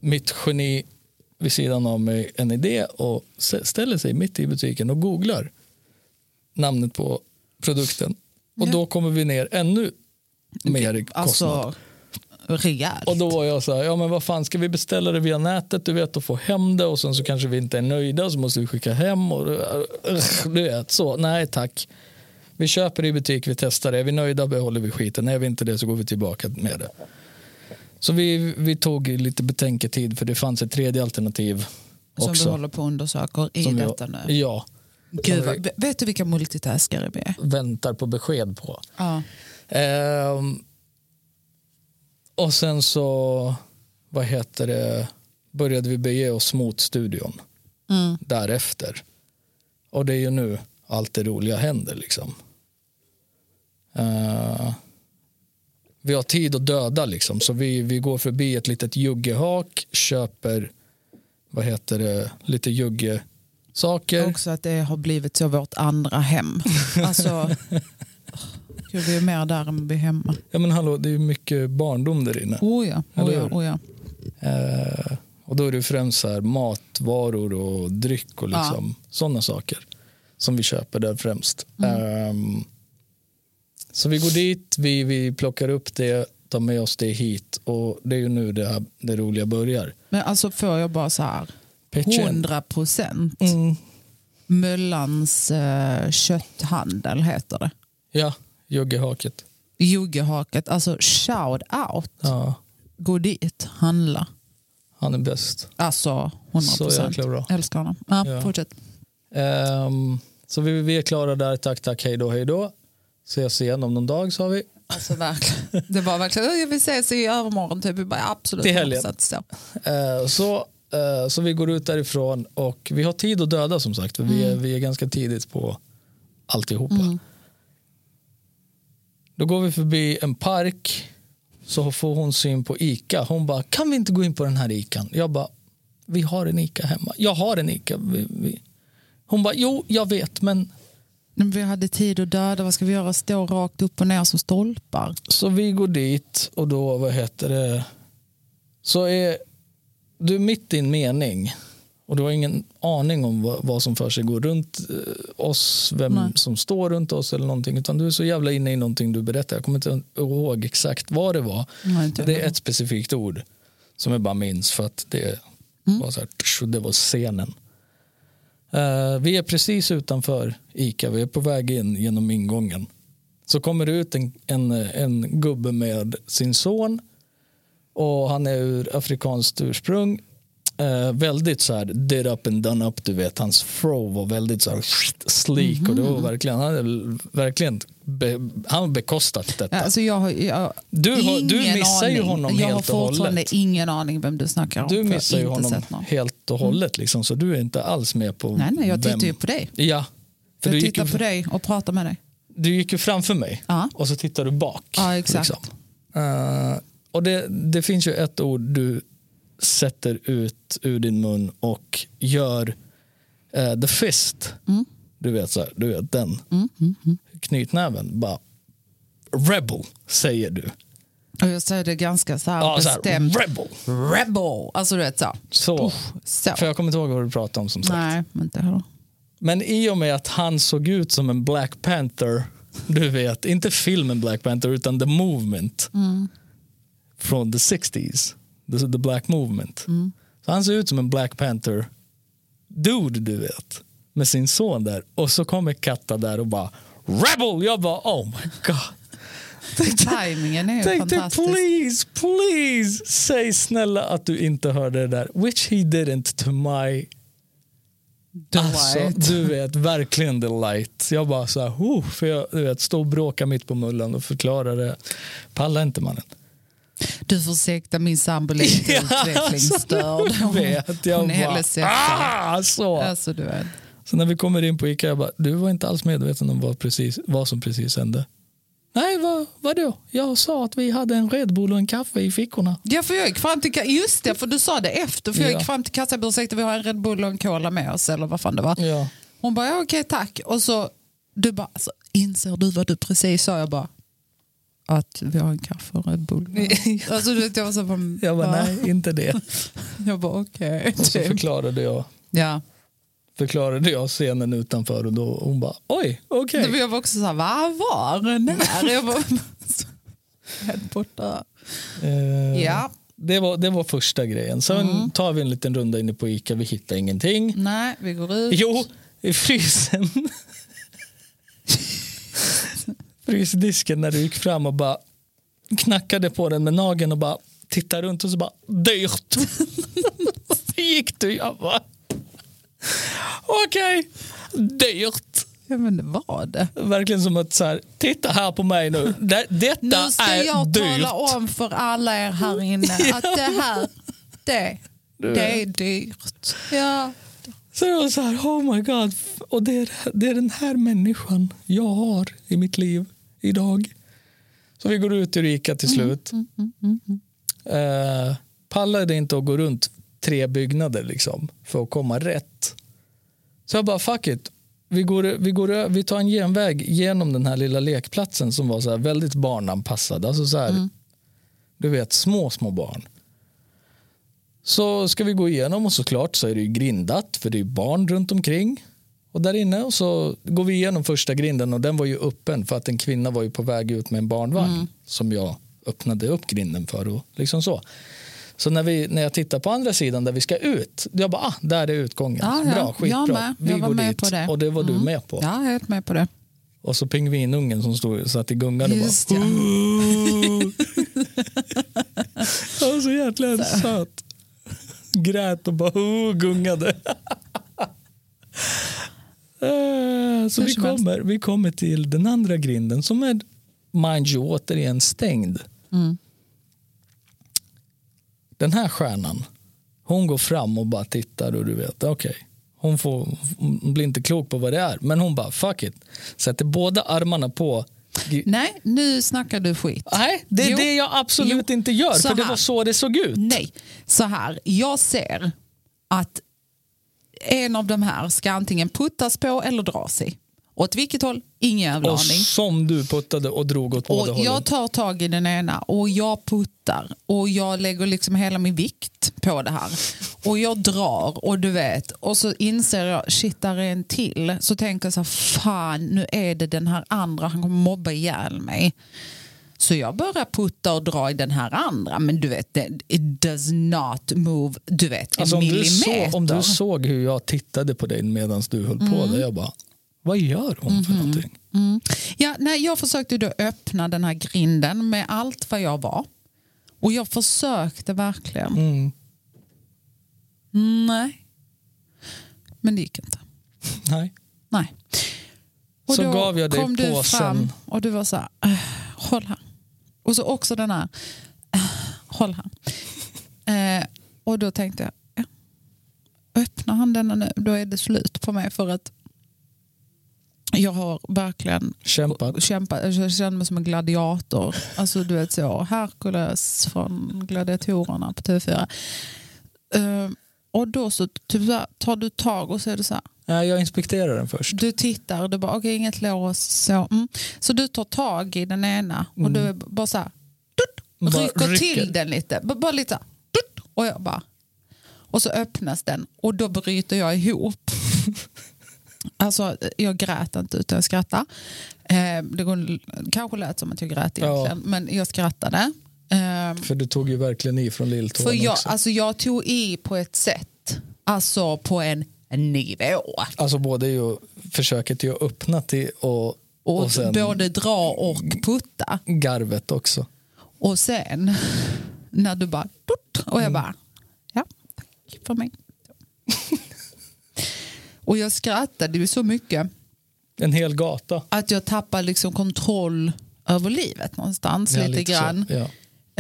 Speaker 1: mitt geni vid sidan av mig en idé och s- ställer sig mitt i butiken och googlar namnet på produkten. Och
Speaker 2: Ja.
Speaker 1: då kommer vi ner ännu mer i kostnad.
Speaker 2: Alltså, rejält.
Speaker 1: Och då var jag så här, ja men vad fan ska vi beställa det via nätet du vet och få hem det och sen så kanske vi inte är nöjda så måste vi skicka hem och Ugh, du vet så, nej tack. Vi köper det i butik, vi testar det, är vi nöjda behåller vi skiten, är vi inte det så går vi tillbaka med det. Så vi, vi tog lite betänketid för det fanns ett tredje alternativ
Speaker 2: som
Speaker 1: också.
Speaker 2: vi håller på och undersöker i
Speaker 1: som vi-
Speaker 2: detta nu.
Speaker 1: Ja,
Speaker 2: Gud, vad, vet du vilka multitaskare vi är?
Speaker 1: väntar på besked på.
Speaker 2: Ja.
Speaker 1: Ehm, och sen så, vad heter det, började vi bege oss mot studion
Speaker 2: Mm.
Speaker 1: därefter. Och det är ju nu allt det roliga händer liksom. Eh, vi har tid att döda liksom, så vi, vi går förbi ett litet juggehak, köper, vad heter det, lite juggesaker.
Speaker 2: Också att det har blivit så vårt andra hem. Alltså, Gud, vi är mer där än vi är hemma.
Speaker 1: Ja men hallå, det är ju mycket barndom där inne.
Speaker 2: Oh ja, oh
Speaker 1: Eller
Speaker 2: ja,
Speaker 1: hur?
Speaker 2: oh ja.
Speaker 1: Eh, och då är det främst så här matvaror och dryck och liksom, sådana saker som vi köper där främst. Ehm, så vi går dit, vi, vi plockar upp det, tar med oss det hit och det är ju nu det, här, det roliga börjar.
Speaker 2: Men alltså får jag bara så här,
Speaker 1: Pitchen.
Speaker 2: 100 procent.
Speaker 1: Mm.
Speaker 2: Möllans eh, kötthandel heter det.
Speaker 1: Ja, juggehaket.
Speaker 2: Juggehaket, alltså shout out.
Speaker 1: Ja,
Speaker 2: Gå dit, handla.
Speaker 1: han är bäst.
Speaker 2: Alltså 100
Speaker 1: Så
Speaker 2: procent.
Speaker 1: jäkla bra.
Speaker 2: Älskar honom. Ja,
Speaker 1: Ja.
Speaker 2: Fortsätt.
Speaker 1: Ehm, så vi, vi är klara där, tack tack, hej då, hej då. Ses igen om någon dag sa vi.
Speaker 2: Alltså verkligen. Det var verkligen, "Åh, jag vill ses i övermorgon typ. Vi bara, absolut.
Speaker 1: Till helgen.
Speaker 2: 100% Så.
Speaker 1: Eh, Så, eh, så vi går ut därifrån och vi har tid att döda som sagt. För vi, är, vi är ganska tidigt på alltihopa. Då går vi förbi en park så får hon syn på ICA. Hon bara, kan vi inte gå in på den här ICAn? Jag bara, vi har en ICA hemma. Jag har en ICA. Vi, vi. Hon bara, jo jag vet men
Speaker 2: Men Vi hade tid att döda, vad ska vi göra? Stå rakt upp och ner som stolpar.
Speaker 1: Så vi går dit och då, vad heter det, så är du mitt i en mening och du har ingen aning om vad, vad som för sig går runt eh, oss, vem
Speaker 2: Nej.
Speaker 1: som står runt oss eller någonting, utan du är så jävla inne i någonting du berättar. Jag kommer inte ihåg exakt vad det var.
Speaker 2: Nej,
Speaker 1: det
Speaker 2: inte Mm, jag.
Speaker 1: är ett specifikt ord som jag bara minns för att det
Speaker 2: Mm.
Speaker 1: var så här, tsch, det var scenen. Eh, vi är precis utanför ICA, vi är på väg in genom ingången. Så kommer det ut en, en, en gubbe med sin son och han är ur afrikanskt ursprung. Eh, väldigt så här did up and done up, du vet. Hans throw var väldigt så här sleek och det
Speaker 2: Mhm.
Speaker 1: var verkligen, han hade verkligen be, han har bekostat detta.
Speaker 2: Ja, alltså jag har, jag,
Speaker 1: Du har- du
Speaker 2: ingen
Speaker 1: missar ju
Speaker 2: aning.
Speaker 1: honom
Speaker 2: jag
Speaker 1: helt och
Speaker 2: har fortfarande
Speaker 1: hållet.
Speaker 2: ingen aning vem du snackar om.
Speaker 1: du
Speaker 2: för
Speaker 1: missar ju
Speaker 2: jag har inte
Speaker 1: honom
Speaker 2: sett någon. Mm.
Speaker 1: helt och hållet liksom, så du är inte alls med på
Speaker 2: Nej, nej, jag
Speaker 1: vem.
Speaker 2: tittar ju på dig.
Speaker 1: Ja, för du
Speaker 2: Jag
Speaker 1: gick, ju,
Speaker 2: tittar på dig och pratar med dig.
Speaker 1: du gick ju framför mig
Speaker 2: Ja.
Speaker 1: och så tittar du bak. liksom.
Speaker 2: Ja, exakt.
Speaker 1: Eh, och det, det finns ju ett ord du sätter ut ur din mun och gör eh, the fist.
Speaker 2: Mm.
Speaker 1: Du vet så här, du vet den. Knytnäven, bara rebel säger du.
Speaker 2: Och jag säger det ganska så här
Speaker 1: Ja, så här,
Speaker 2: bestämt.
Speaker 1: rebel.
Speaker 2: Rebel! Alltså du vet så.
Speaker 1: Så,
Speaker 2: så.
Speaker 1: för jag kommer inte ihåg vad du pratade om som sagt.
Speaker 2: Nej, men inte heller.
Speaker 1: Men i och med att han såg ut som en Black Panther, du vet, inte filmen Black Panther utan The Movement från the 60s, the, the Black Movement. Så han ser ut som en Black Panther dude, du vet, med sin son där. Och så kommer Katta där och bara Rebel! Jag bara oh my god.
Speaker 2: Timingen är ju
Speaker 1: Tänkte
Speaker 2: fantastisk.
Speaker 1: please, please, säg snälla att du inte hörde det där. Which he didn't to my Alltså,
Speaker 2: Delight.
Speaker 1: du vet, verkligen delight. Jag bara så här, oh, för jag du vet, står och bråkar mitt på mullen och förklarar det. Pallar inte mannen.
Speaker 2: Du får ursäkta min sambo är lite utvecklingsstörd.
Speaker 1: du vet, jag
Speaker 2: Hon är
Speaker 1: bara,
Speaker 2: LSS.
Speaker 1: ah, så.
Speaker 2: Alltså du vet.
Speaker 1: Så när vi kommer in på Ica, jag bara, du var inte alls medveten om vad, precis, vad som precis hände. Nej, vad, vadå? Jag sa att vi hade en Red Bull och en kaffe i fickorna.
Speaker 2: Ja, för jag gick fram till, ka- just det, för du sa det efter. För jag
Speaker 1: Ja.
Speaker 2: gick fram till kassan och bara, ursäkta vi har en Red Bull och en Cola med oss eller vad fan det var.
Speaker 1: Ja.
Speaker 2: Hon bara, ja, okej tack. Och så du bara, alltså, inser du vad du precis sa? Jag bara, att vi har en kaffe och en Red Bull. alltså, du vet, jag var så här,
Speaker 1: Jag bara,
Speaker 2: "Va?"
Speaker 1: nej, inte det.
Speaker 2: Jag bara, okej.
Speaker 1: Och så
Speaker 2: typ.
Speaker 1: förklarade jag,
Speaker 2: Ja.
Speaker 1: förklarade jag scenen utanför och då hon bara, oj, okej.
Speaker 2: Okay. Jag var också så här, va, var, när? Jag bara, helt borta.
Speaker 1: Eh,
Speaker 2: Ja,
Speaker 1: det, var, det var första grejen. Sen tar vi en liten runda inne på Ica, vi hittar ingenting.
Speaker 2: nej, vi går ut.
Speaker 1: Jo, i frysen. Frysdisken när du gick fram och bara knackade på den med nageln och bara tittade runt och så bara dyrt. så gick du jag bara okej, dyrt.
Speaker 2: Ja, men det var det.
Speaker 1: Verkligen som att så här, titta här på mig nu. Det, detta
Speaker 2: Nu ska
Speaker 1: är
Speaker 2: jag
Speaker 1: dyrt.
Speaker 2: tala om för alla er här inne att det här, det, det är dyrt. Ja.
Speaker 1: Så jag var så här, oh my god. Och det är, det är den här människan jag har i mitt liv idag. Så vi går ut ur Ica till
Speaker 2: Mm,
Speaker 1: slut. Eh, pallade inte att gå runt tre byggnader liksom, för att komma rätt. Så jag bara, fuck it. Vi, går, vi, går, ö- vi tar en genväg genom den här lilla lekplatsen som var så här väldigt barnanpassad. Alltså så här,
Speaker 2: Mm.
Speaker 1: Du vet, små, små barn. Så ska vi gå igenom och såklart så är det ju grindat för det är ju barn runt omkring. Och där inne och så går vi igenom första grinden och den var ju öppen för att en kvinna var ju på väg ut med en barnvagn
Speaker 2: Mm.
Speaker 1: som jag öppnade upp grinden för och liksom så. Så när, vi, när jag tittar på andra sidan där vi ska ut, jag bara, ah, där är utgången.
Speaker 2: Ja, ja.
Speaker 1: Bra,
Speaker 2: Jag
Speaker 1: skitbra.
Speaker 2: med.
Speaker 1: Vi
Speaker 2: Jag var
Speaker 1: går
Speaker 2: med
Speaker 1: dit
Speaker 2: på det. Mm.
Speaker 1: och det var du med på.
Speaker 2: Ja, jag är helt med på det.
Speaker 1: Och så pingvinungen som stod, satt i gungan och bara,
Speaker 2: Just ja.
Speaker 1: Han så jäkla söt. Grät och bara oh, gungade. Eh, så
Speaker 2: Hur
Speaker 1: vi
Speaker 2: som helst.
Speaker 1: kommer, vi kommer till den andra grinden som är mind you återigen stängd. Den här stjärnan, hon går fram och bara tittar och du vet, okej. Hon, får, hon blir inte klok på vad det är, men hon bara fuck it. Sätter båda armarna på gri-
Speaker 2: Nej, nu snackar du skit.
Speaker 1: Nej, det är
Speaker 2: Jo.
Speaker 1: det jag absolut
Speaker 2: Jo.
Speaker 1: inte gör.
Speaker 2: Så
Speaker 1: för det
Speaker 2: här.
Speaker 1: var så det såg ut.
Speaker 2: Nej, så här. Jag ser att en av de här ska antingen puttas på eller dras i. Åt vilket håll? Ingen jävla
Speaker 1: Och
Speaker 2: aning.
Speaker 1: som du puttade och drog åt båda
Speaker 2: Och
Speaker 1: hållen.
Speaker 2: jag tar tag i den ena och jag puttar och jag lägger liksom hela min vikt på det här. Och jag drar och du vet och så inser jag shit där är en till. Så tänker jag så här fan nu är det den här andra han kommer mobba ihjäl mig. Så jag börjar putta och dra i den här andra men du vet det- it does not move du vet en
Speaker 1: Alltså, om, du
Speaker 2: millimeter. Mm.
Speaker 1: så, om du såg hur jag tittade på dig medan du höll på det, jag bara, vad gör hon
Speaker 2: Mm-hmm.
Speaker 1: för någonting?
Speaker 2: Ja, nej, jag försökte ju då öppna den här grinden med allt vad jag var. Och jag försökte verkligen.
Speaker 1: Mm.
Speaker 2: Nej. Men det gick inte.
Speaker 1: Nej.
Speaker 2: Nej.
Speaker 1: Så
Speaker 2: då
Speaker 1: gav jag dig
Speaker 2: kom du
Speaker 1: påsen.
Speaker 2: fram och du var så här, "Eh, håll här. Och så också den här, "Eh, håll här. Eh, och då tänkte jag, ja. öppnar han denna nu, då är det slut på mig för att jag har verkligen
Speaker 1: Kämpat.
Speaker 2: kämpa, alltså, jag kände mig som en gladiator. Alltså du vet så, Herkules från Gladiatorerna på TV4. Eh, och då så typ så här, tar du tag och så är det så här,
Speaker 1: Nej, jag inspekterar den först.
Speaker 2: du tittar och du bara okej inget lås. Så, mm. så du tar tag i den ena och du är bara så här, tut,
Speaker 1: Bara
Speaker 2: rycker
Speaker 1: rycker.
Speaker 2: till den lite. B- bara lite så här, tut, och jag bara och så öppnas den och då bryter jag ihop. alltså jag grät inte utan jag skrattade. Eh, det går, kanske lät som att jag grät
Speaker 1: Ja.
Speaker 2: egentligen men jag skrattade. Eh,
Speaker 1: För du tog ju verkligen i från lilltån
Speaker 2: för jag,
Speaker 1: också.
Speaker 2: alltså, jag tog i på ett sätt, alltså på en nivå.
Speaker 1: Alltså både ju försöket ju att öppna till och, och,
Speaker 2: Och,
Speaker 1: sen
Speaker 2: både dra och putta.
Speaker 1: garvet också.
Speaker 2: Och sen när du bara... tut, Och
Speaker 1: Mm.
Speaker 2: jag bara... Ja, tack för mig. och jag skrattade ju så mycket
Speaker 1: En hel gata.
Speaker 2: att jag tappade liksom kontroll över livet någonstans.
Speaker 1: Ja,
Speaker 2: lite
Speaker 1: så.
Speaker 2: grann.
Speaker 1: Ja.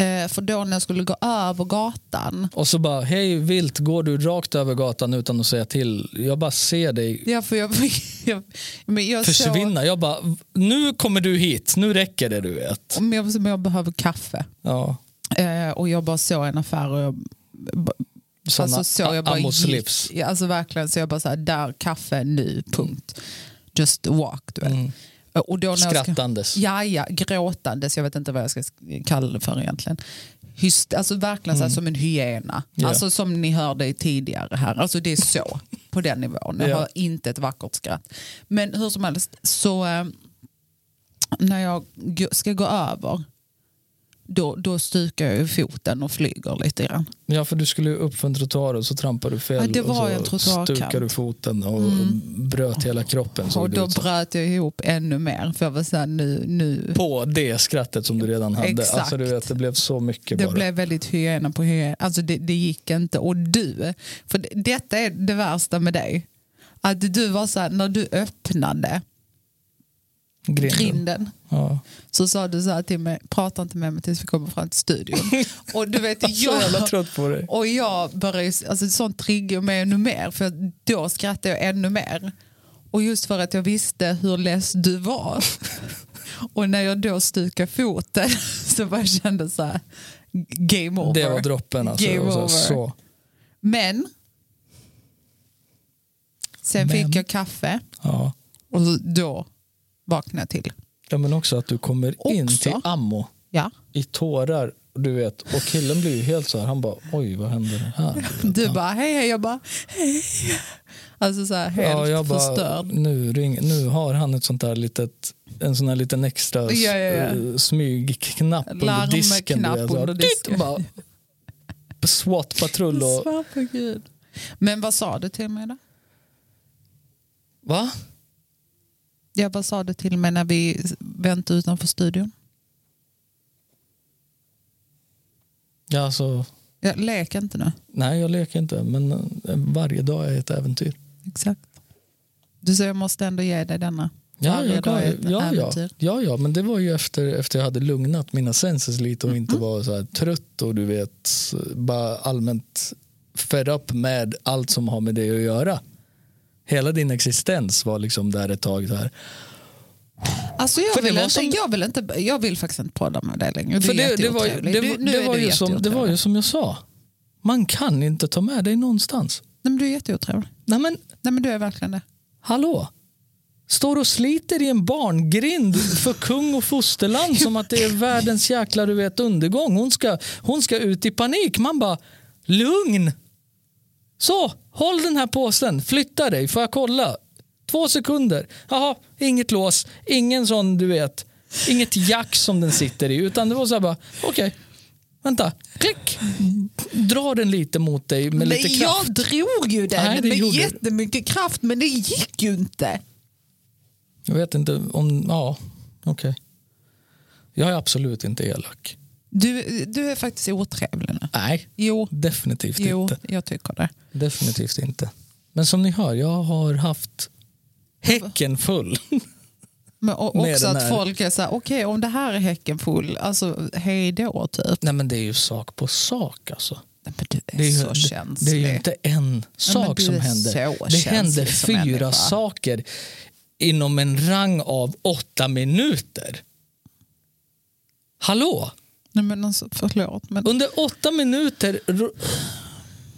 Speaker 2: Eh, för då när jag skulle gå över gatan.
Speaker 1: Och så bara, hej vilt, går du rakt över gatan utan att säga till? Jag bara ser dig
Speaker 2: Ja, för jag, jag, men jag
Speaker 1: försvinna. Jag bara, nu kommer du hit, nu räcker det du vet.
Speaker 2: Såg, men jag, men jag behöver kaffe.
Speaker 1: Ja,
Speaker 2: Eh, och jag bara såg en affär och jag, b-
Speaker 1: sådana
Speaker 2: alltså, så jag bara
Speaker 1: Amos
Speaker 2: gick.
Speaker 1: lips.
Speaker 2: Ja, alltså verkligen, så jag bara så här, där, kaffe, nu, punkt. Just walk, du vet.
Speaker 1: Mm.
Speaker 2: Eh, Och då när jag ska-
Speaker 1: Skrattandes.
Speaker 2: Ja, ja, gråtandes. Jag vet inte vad jag ska kalla det för egentligen. Hyst, alltså verkligen så här som en hyena.
Speaker 1: Mm. Ja.
Speaker 2: Alltså som ni hörde i tidigare här. Alltså det är så på den nivån. Jag
Speaker 1: Ja.
Speaker 2: har inte ett vackert skratt. Men hur som helst, så eh, när jag g- ska gå över då, då stukar jag ju foten och flyger lite grann.
Speaker 1: Ja, för du skulle ju upp för en trottoar och så trampade du fel.
Speaker 2: Ja, det var en
Speaker 1: och så
Speaker 2: trottoarkant. Mm.
Speaker 1: stukade du foten och bröt hela kroppen. såg
Speaker 2: Och
Speaker 1: det
Speaker 2: då
Speaker 1: ut som.
Speaker 2: bröt jag ihop ännu mer. För jag var så här, nu, nu.
Speaker 1: På det skrattet som du redan hade.
Speaker 2: Exakt.
Speaker 1: Alltså, du vet, det blev så mycket
Speaker 2: Det
Speaker 1: bara.
Speaker 2: blev väldigt hyena på hyena. Alltså det, det gick inte. Och du, för det, detta är det värsta med dig. Att du var så här, när du öppnade
Speaker 1: Grinden.
Speaker 2: grinden
Speaker 1: Ja.
Speaker 2: så sa du så här till mig, prata inte med mig tills vi kommer fram till studion. och du vet,
Speaker 1: Så Alltså, jävla
Speaker 2: jag,
Speaker 1: trött på dig.
Speaker 2: och jag började, ju- alltså sånt triggar mig ännu mer för då skrattade jag ännu mer. Och just för att jag visste hur less du var. och när jag då stukade foten så bara kände så här, game over.
Speaker 1: Det var droppen alltså.
Speaker 2: Game
Speaker 1: Och så,
Speaker 2: over.
Speaker 1: så.
Speaker 2: Men sen
Speaker 1: Men.
Speaker 2: fick jag kaffe
Speaker 1: Ja.
Speaker 2: och så då vaknade jag till.
Speaker 1: ja, men också att du kommer in
Speaker 2: Också.
Speaker 1: till Ammo
Speaker 2: Ja.
Speaker 1: i tårar. Du vet, och killen blir ju helt så här, han bara oj vad händer här?
Speaker 2: Du bara hej hej, jag bara hej. Alltså så här helt
Speaker 1: jag bara,
Speaker 2: förstörd.
Speaker 1: Nu, ring, nu har han ett sånt där litet, en sån här liten extra s-
Speaker 2: Ja, ja, ja.
Speaker 1: eh, smygknapp under
Speaker 2: Larmknapp
Speaker 1: disken. du vet, så här,
Speaker 2: under
Speaker 1: tick,
Speaker 2: disken.
Speaker 1: bara, SWAT-patrull och...
Speaker 2: Svär på Gud. Men vad sa du till mig då?
Speaker 1: Va?
Speaker 2: Jag bara sa det till mig när vi väntade utanför studion.
Speaker 1: Ja, alltså,
Speaker 2: Jag lek inte nu.
Speaker 1: nej, jag leker inte, men eh, varje dag är ett äventyr.
Speaker 2: Exakt. Du säger jag måste ändå ge dig denna.
Speaker 1: Ja,
Speaker 2: Varje
Speaker 1: jag
Speaker 2: dag
Speaker 1: gav,
Speaker 2: är ett
Speaker 1: ja, ja,
Speaker 2: äventyr.
Speaker 1: ja, ja, men det var ju efter, efter jag hade lugnat mina senses lite och
Speaker 2: Mm.
Speaker 1: inte var så här trött och du vet bara allmänt fed up med allt som har med det att göra. Hela din existens var liksom där ett tag. Så här.
Speaker 2: Alltså jag,
Speaker 1: För det
Speaker 2: vill
Speaker 1: var
Speaker 2: inte,
Speaker 1: som-
Speaker 2: jag, vill inte, jag vill faktiskt inte podda med dig längre. Du
Speaker 1: För
Speaker 2: är
Speaker 1: det, det, var, ju-
Speaker 2: jätteotrevlig.
Speaker 1: det,
Speaker 2: Du-
Speaker 1: var-
Speaker 2: nu är
Speaker 1: det,
Speaker 2: du
Speaker 1: var ju som, det var
Speaker 2: jätteotrevlig.
Speaker 1: ju som jag sa, man kan inte ta med dig någonstans.
Speaker 2: Nej, men du är jätteotrevlig.
Speaker 1: Nej men
Speaker 2: Nej men du är verkligen det.
Speaker 1: hallå, står och sliter i en barngrind för kung och fosterland som att det är världens jäkla du vet, undergång. Hon ska, hon ska ut i panik. Man bara, lugn! Så, håll den här påsen, flytta dig, får jag kolla? Två sekunder. Jaha, inget lås, ingen sån du vet, inget jack som den sitter i, utan det var så här bara, okej, vänta, klick, dra den lite mot dig med lite kraft.
Speaker 2: jag drog ju den
Speaker 1: Nej, det
Speaker 2: med
Speaker 1: gjorde du.
Speaker 2: jättemycket kraft men det gick ju inte.
Speaker 1: Jag vet inte om... Ja, okej. Jag är absolut inte elak.
Speaker 2: Du, du är faktiskt otrevlig nu.
Speaker 1: Nej.
Speaker 2: Jo,
Speaker 1: Definitivt
Speaker 2: jo
Speaker 1: inte.
Speaker 2: jag tycker det.
Speaker 1: Definitivt inte. Men som ni hör, jag har haft häcken full.
Speaker 2: Men och,
Speaker 1: Med
Speaker 2: också
Speaker 1: den
Speaker 2: att
Speaker 1: här-
Speaker 2: folk är så här, okej om det här är häcken full, alltså hej då typ.
Speaker 1: Nej men det är ju sak på sak alltså.
Speaker 2: Nej, Men du är,
Speaker 1: Det är, ju,
Speaker 2: så
Speaker 1: det,
Speaker 2: känslig.
Speaker 1: det är ju inte en
Speaker 2: men
Speaker 1: sak
Speaker 2: du
Speaker 1: som
Speaker 2: är
Speaker 1: händer.
Speaker 2: så
Speaker 1: Det händer
Speaker 2: känslig som människa.
Speaker 1: fyra saker inom en rang av åtta minuter. Hallå?
Speaker 2: Nej, men alltså, förlåt, men
Speaker 1: Under åtta minuter ro-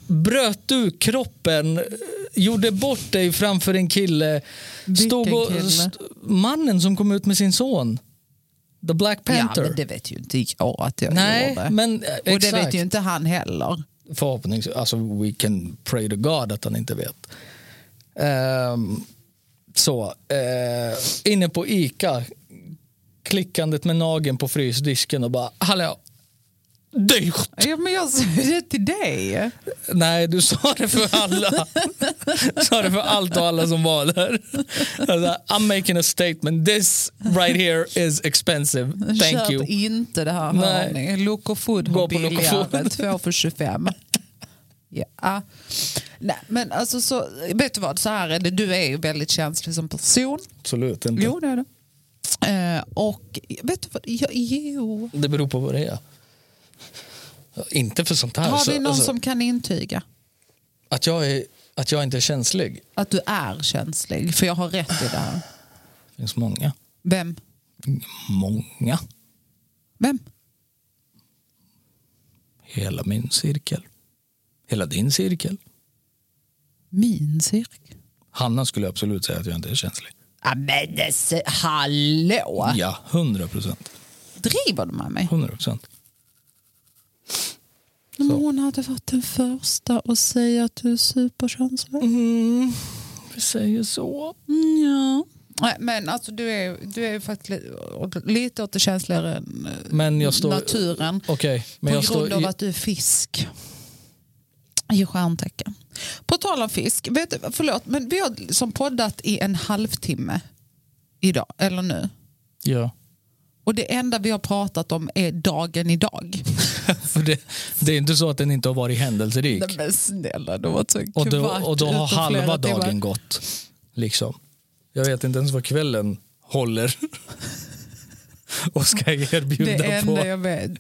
Speaker 1: bröt du kroppen, eh, gjorde bort dig framför en kille.
Speaker 2: Vilken kille?
Speaker 1: mannen som kom ut med sin son. The Black
Speaker 2: ja,
Speaker 1: Panther.
Speaker 2: men det vet ju inte jag att jag
Speaker 1: Nej,
Speaker 2: gjorde.
Speaker 1: men eh,
Speaker 2: och det
Speaker 1: exakt.
Speaker 2: vet ju inte han heller.
Speaker 1: Förhoppningsvis, alltså we can pray to God att han inte vet. Ehm, så, eh, inne på Ica, klickandet med nageln på frysdisken och bara hallå, dyrt.
Speaker 2: Ja, men jag sa ju det till dig.
Speaker 1: Nej, du sa det för alla. Du sa det för allt och alla som var där. Alltså, I'm making a statement. This right here is expensive. Thank
Speaker 2: Köp
Speaker 1: you.
Speaker 2: inte det här
Speaker 1: Nej.
Speaker 2: hör ni. Loco Food
Speaker 1: Gå
Speaker 2: har
Speaker 1: på Loco
Speaker 2: billigare.
Speaker 1: Food.
Speaker 2: Två för 25. Ja. Nej, men alltså så, vet du vad, så här är det. Du är ju väldigt känslig som person.
Speaker 1: Absolut inte.
Speaker 2: Jo, det är det. Eh, och vet du vad, jag, jo.
Speaker 1: Det beror på vad det är. Inte för sånt här.
Speaker 2: Har
Speaker 1: så-
Speaker 2: vi någon
Speaker 1: alltså,
Speaker 2: som kan intyga
Speaker 1: att, jag är, att jag inte är känslig.
Speaker 2: att du är känslig? För jag har rätt i det här.
Speaker 1: Det finns många.
Speaker 2: Vem?
Speaker 1: Många.
Speaker 2: Vem?
Speaker 1: Hela min cirkel. Hela din cirkel.
Speaker 2: Min cirkel.
Speaker 1: Hanna skulle absolut säga att jag inte är känslig.
Speaker 2: Ja, men det se- hallå!
Speaker 1: Ja, 100 procent.
Speaker 2: Driver du med mig?
Speaker 1: 100 procent.
Speaker 2: Men hon hade varit den första att säga att du är superkänslig.
Speaker 1: Vi säger så.
Speaker 2: Mm, ja. Nej, Men alltså, du är, du är faktiskt li- lite åt det känsligare än eh,
Speaker 1: Men jag står...
Speaker 2: naturen.
Speaker 1: Okej, men jag
Speaker 2: på grund
Speaker 1: står...
Speaker 2: av att du är fisk. I stjärntecken. På tal om fisk, vet, du- förlåt, men vi har som poddat i en halvtimme idag, eller nu.
Speaker 1: Ja.
Speaker 2: Och det enda vi har pratat om är dagen idag.
Speaker 1: För det, det är inte så att den inte har varit händelserik.
Speaker 2: Nej, men snälla, det var så
Speaker 1: Och då,
Speaker 2: kvart
Speaker 1: och då har
Speaker 2: ute flera
Speaker 1: halva
Speaker 2: timmar.
Speaker 1: dagen gått. Liksom. Jag vet inte ens vad kvällen håller. och ska erbjuda
Speaker 2: Det
Speaker 1: på.
Speaker 2: enda jag vet.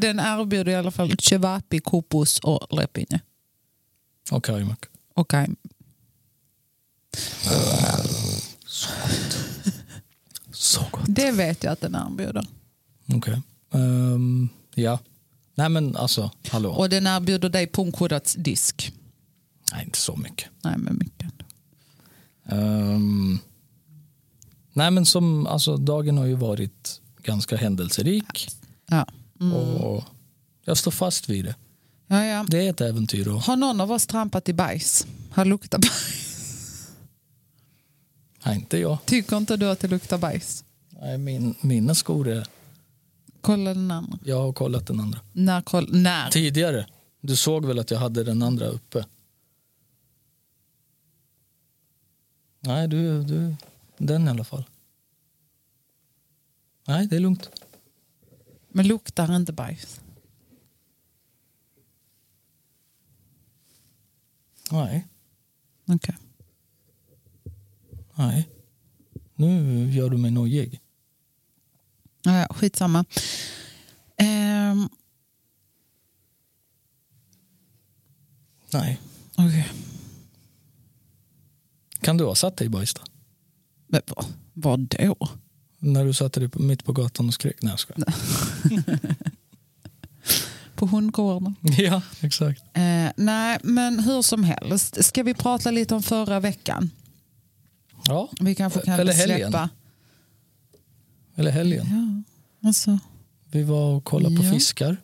Speaker 2: Den erbjuder i alla fall cevapi, kopus och lepinje.
Speaker 1: Och kajmak.
Speaker 2: Och kajm.
Speaker 1: Så gott.
Speaker 2: Det vet jag att den erbjuder.
Speaker 1: Okej. Ehm, ja. Nej men alltså, hallå.
Speaker 2: Och den erbjuder dig punkurats disk.
Speaker 1: Nej, inte så mycket.
Speaker 2: Nej, men mycket.
Speaker 1: Ehm, nej men som, alltså dagen har ju varit ganska händelserik.
Speaker 2: Ja.
Speaker 1: Och jag står fast vid det.
Speaker 2: Ja, ja.
Speaker 1: Det är ett äventyr. Och,
Speaker 2: Har någon av oss trampat i bajs? Har luktat bajs?
Speaker 1: nej, inte jag.
Speaker 2: Tycker inte du att det luktar bajs?
Speaker 1: Nej, min, mina skor är...
Speaker 2: Kolla den andra.
Speaker 1: Jag har kollat den andra.
Speaker 2: När? Koll, när?
Speaker 1: Tidigare. Du såg väl att jag hade den andra uppe? Nej, du, du den i alla fall. Nej, det är lugnt.
Speaker 2: Men luktar inte bajs?
Speaker 1: Nej,
Speaker 2: Okej.
Speaker 1: nej. Nu gör du mig nojig.
Speaker 2: Ja, ja, skitsamma. Ehm,
Speaker 1: Nej.
Speaker 2: okej.
Speaker 1: Kan du ha satt dig i bajs då?
Speaker 2: Men vad- Vad då?
Speaker 1: När du satte dig på- mitt på gatan och skrek? Nej, jag skojar.
Speaker 2: På hundgården?
Speaker 1: Ja, exakt.
Speaker 2: Eh, nej, men hur som helst. Ska vi prata lite om förra veckan?
Speaker 1: Ja,
Speaker 2: Vi kanske kan
Speaker 1: Eller helgen.
Speaker 2: släppa...
Speaker 1: eller helgen.
Speaker 2: Ja, alltså.
Speaker 1: Vi var och kollade
Speaker 2: Ja.
Speaker 1: på fiskar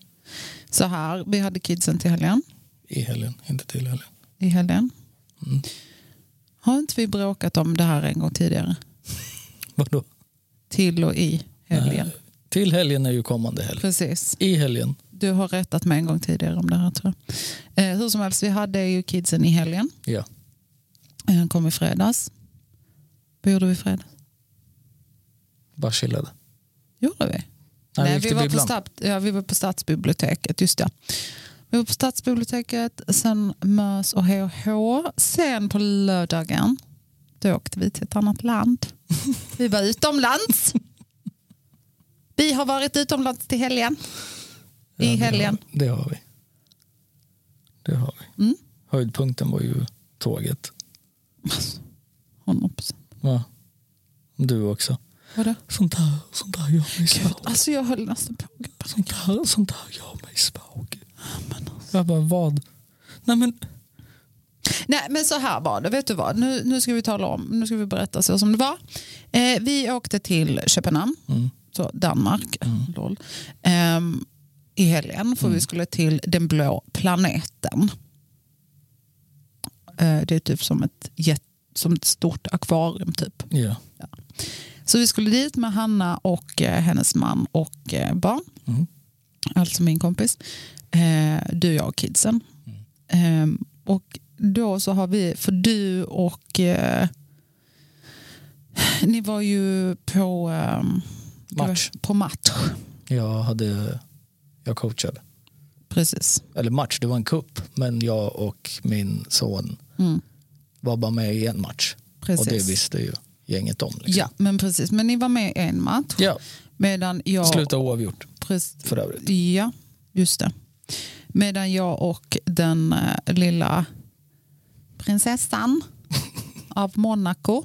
Speaker 2: Så här, vi hade kidsen till helgen.
Speaker 1: i helgen, inte till helgen.
Speaker 2: I helgen.
Speaker 1: Mm.
Speaker 2: Har inte vi bråkat om det här en gång tidigare?
Speaker 1: Vadå?
Speaker 2: Till och i helgen.
Speaker 1: Nej. Till helgen är ju kommande helg.
Speaker 2: Precis.
Speaker 1: I helgen.
Speaker 2: Du har rättat mig en gång tidigare om det här tror jag. Eh, hur som helst, vi hade ju kidsen i helgen.
Speaker 1: Ja.
Speaker 2: Eh, Den kom i fredags. Vad gjorde vi i fredags?
Speaker 1: Bara chillade.
Speaker 2: Gjorde vi?
Speaker 1: Nej,
Speaker 2: Nej,
Speaker 1: gick
Speaker 2: vi,
Speaker 1: till
Speaker 2: var på
Speaker 1: bibblan.
Speaker 2: stat, ja, vi var på stadsbiblioteket, just det. Vi var på stadsbiblioteket, sen MÖS och HH. Sen på lördagen, då åkte vi till ett annat land. Vi var utomlands. Vi har varit utomlands till helgen.
Speaker 1: Ja,
Speaker 2: I
Speaker 1: det
Speaker 2: helgen.
Speaker 1: har- Det har vi. Det har vi.
Speaker 2: Mm.
Speaker 1: Höjdpunkten var ju tåget.
Speaker 2: Honom. precis.
Speaker 1: Va? Du också.
Speaker 2: Vadå?
Speaker 1: Sånt här, sånt här gör mig svag.
Speaker 2: Alltså jag höll nästan på att gå
Speaker 1: Sånt här, sånt här gör mig svag. Jag bara, vad? Nej men,
Speaker 2: Nej men så här var det, vet du vad? Nu, nu ska vi tala om, nu ska vi berätta så som det var. Eh, vi åkte till Köpenhamn,
Speaker 1: Mm.
Speaker 2: så Danmark, lol, ehm, i helgen för vi skulle till den blå planeten. Eh, det är typ som ett, jätt, som ett stort akvarium typ.
Speaker 1: ja.
Speaker 2: Så vi skulle dit med Hanna och eh, hennes man och eh, barn.
Speaker 1: Mm.
Speaker 2: Alltså min kompis. Eh, du, jag och kidsen.
Speaker 1: Mm.
Speaker 2: Eh, och då så har vi, för du och eh, ni var ju på eh,
Speaker 1: Match.
Speaker 2: På match.
Speaker 1: Jag hade, jag coachade.
Speaker 2: Precis.
Speaker 1: Eller match, det var en kupp. Men jag och min son
Speaker 2: Mm,
Speaker 1: var bara med i en match.
Speaker 2: precis.
Speaker 1: Och det visste liksom. ju gänget om. Liksom.
Speaker 2: Ja, men precis. Men ni var med i en match.
Speaker 1: ja.
Speaker 2: Medan jag...
Speaker 1: Sluta oavgjort
Speaker 2: Precis,
Speaker 1: för övrigt.
Speaker 2: ja. just det. Medan jag och den eh, lilla prinsessan av Monaco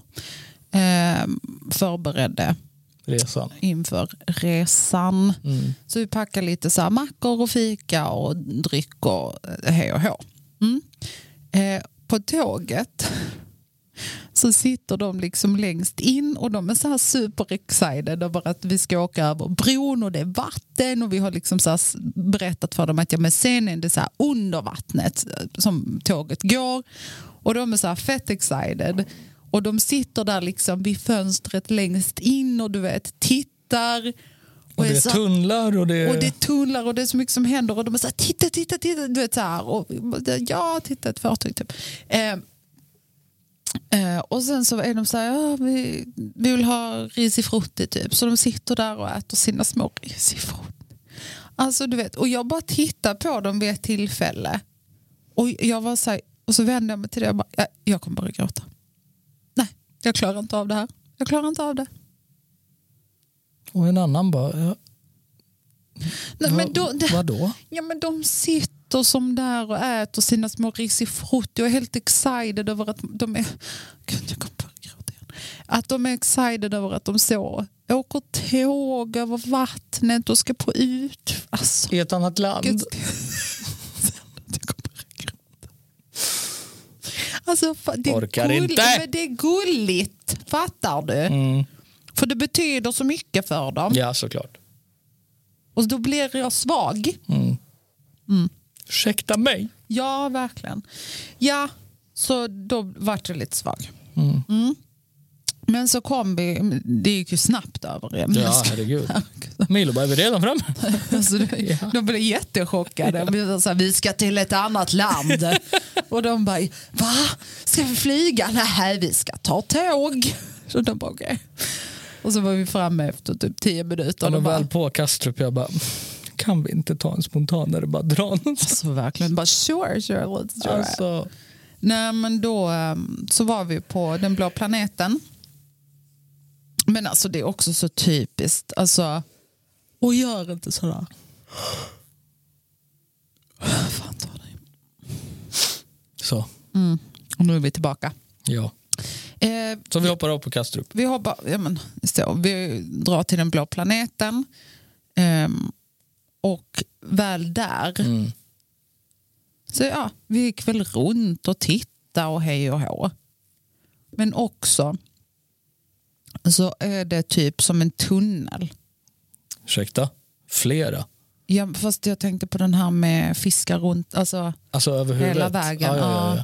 Speaker 2: eh, förberedde
Speaker 1: Resan.
Speaker 2: inför resan.
Speaker 1: Mm.
Speaker 2: Så vi packade lite så här mackor och fika och dryck och hej och hå. Mm. Eh, på tåget så sitter de liksom längst in och de är så här super excited över att vi ska åka över bron och det är vatten och vi har liksom så här s- berättat för dem att ja, men sen är det så här under vattnet eh, som tåget går och de är så här fett excited och de sitter där liksom vid fönstret längst in och du vet tittar
Speaker 1: Och det
Speaker 2: är så
Speaker 1: är
Speaker 2: här-
Speaker 1: tunnlar och det är...
Speaker 2: och det tullar och det är så mycket som händer och de är så här, titta, titta, titta, du vet så här. Och, ja, titta ett fartyg typ. Eh, eh, och sen så är de så här, ja, vi, vi vill ha risifrutti typ. Så de sitter där och äter sina små risifrutti. Alltså du vet, och jag bara tittar på dem vid ett tillfälle. Och jag var så här, och så vände jag mig till det och bara, jag, jag kommer bara gråta. Nej, jag klarar inte av det här. Jag klarar inte av det.
Speaker 1: och en annan bara... Ja,
Speaker 2: Nej,
Speaker 1: va-
Speaker 2: men då, det,
Speaker 1: Vadå?
Speaker 2: Ja men de sitter som där och äter sina små risifrutti och är helt excited över att de är... Gud, jag kommer börja gråta igen. Att de är excited över att de så åker tåg över vattnet och ska på ut... Alltså,
Speaker 1: I ett annat land?
Speaker 2: gud. Jag kommer börja gråta. Alltså, fa- det är
Speaker 1: Orkar
Speaker 2: gull-
Speaker 1: inte.
Speaker 2: Men det är gulligt, fattar du?
Speaker 1: Mm.
Speaker 2: För det betyder så mycket för dem.
Speaker 1: Ja, såklart. Mm.
Speaker 2: Och då blir jag svag. Mm.
Speaker 1: Ursäkta mig?
Speaker 2: Ja, verkligen. Ja, så då vart jag lite svag.
Speaker 1: Mm.
Speaker 2: Mm. Men så kom vi, det gick ju snabbt över. det. Men jag
Speaker 1: Ja,
Speaker 2: ska-
Speaker 1: herregud. Milo, bara, är vi redan framme?
Speaker 2: Alltså, det- De blev jättechockade. Vi, var så här, vi ska till ett annat land. Och de bara, va? Ska vi flyga? Nej, vi ska ta tåg. Så de bara, okej. Och så var vi framme efter typ tio minuter.
Speaker 1: Ja,
Speaker 2: Och de
Speaker 1: de
Speaker 2: bara,
Speaker 1: väl på Kastrup, jag bara, kan vi inte ta en spontanare bara dra någonstans?
Speaker 2: alltså, verkligen, bara sure, sure, let's do it.
Speaker 1: Alltså,
Speaker 2: Nej men då eh, så var vi på den blå planeten. Men alltså det är också så typiskt. Alltså, och gör inte sådär. Fan ta dig.
Speaker 1: så,
Speaker 2: Och nu är vi tillbaka.
Speaker 1: ja.
Speaker 2: Eh,
Speaker 1: så vi hoppar av på Kastrup.
Speaker 2: vi hoppar, ja men så, vi drar till den blå planeten. Ehm, och väl där
Speaker 1: Mm.
Speaker 2: Så ja, vi gick väl runt och tittade och hej och hå. Men också så är det typ som en tunnel.
Speaker 1: Ursäkta? Flera?
Speaker 2: Ja, fast jag tänkte på den här med fiskar runt, alltså
Speaker 1: Alltså över huvudet?
Speaker 2: hela vägen.
Speaker 1: Ja, ja, ja,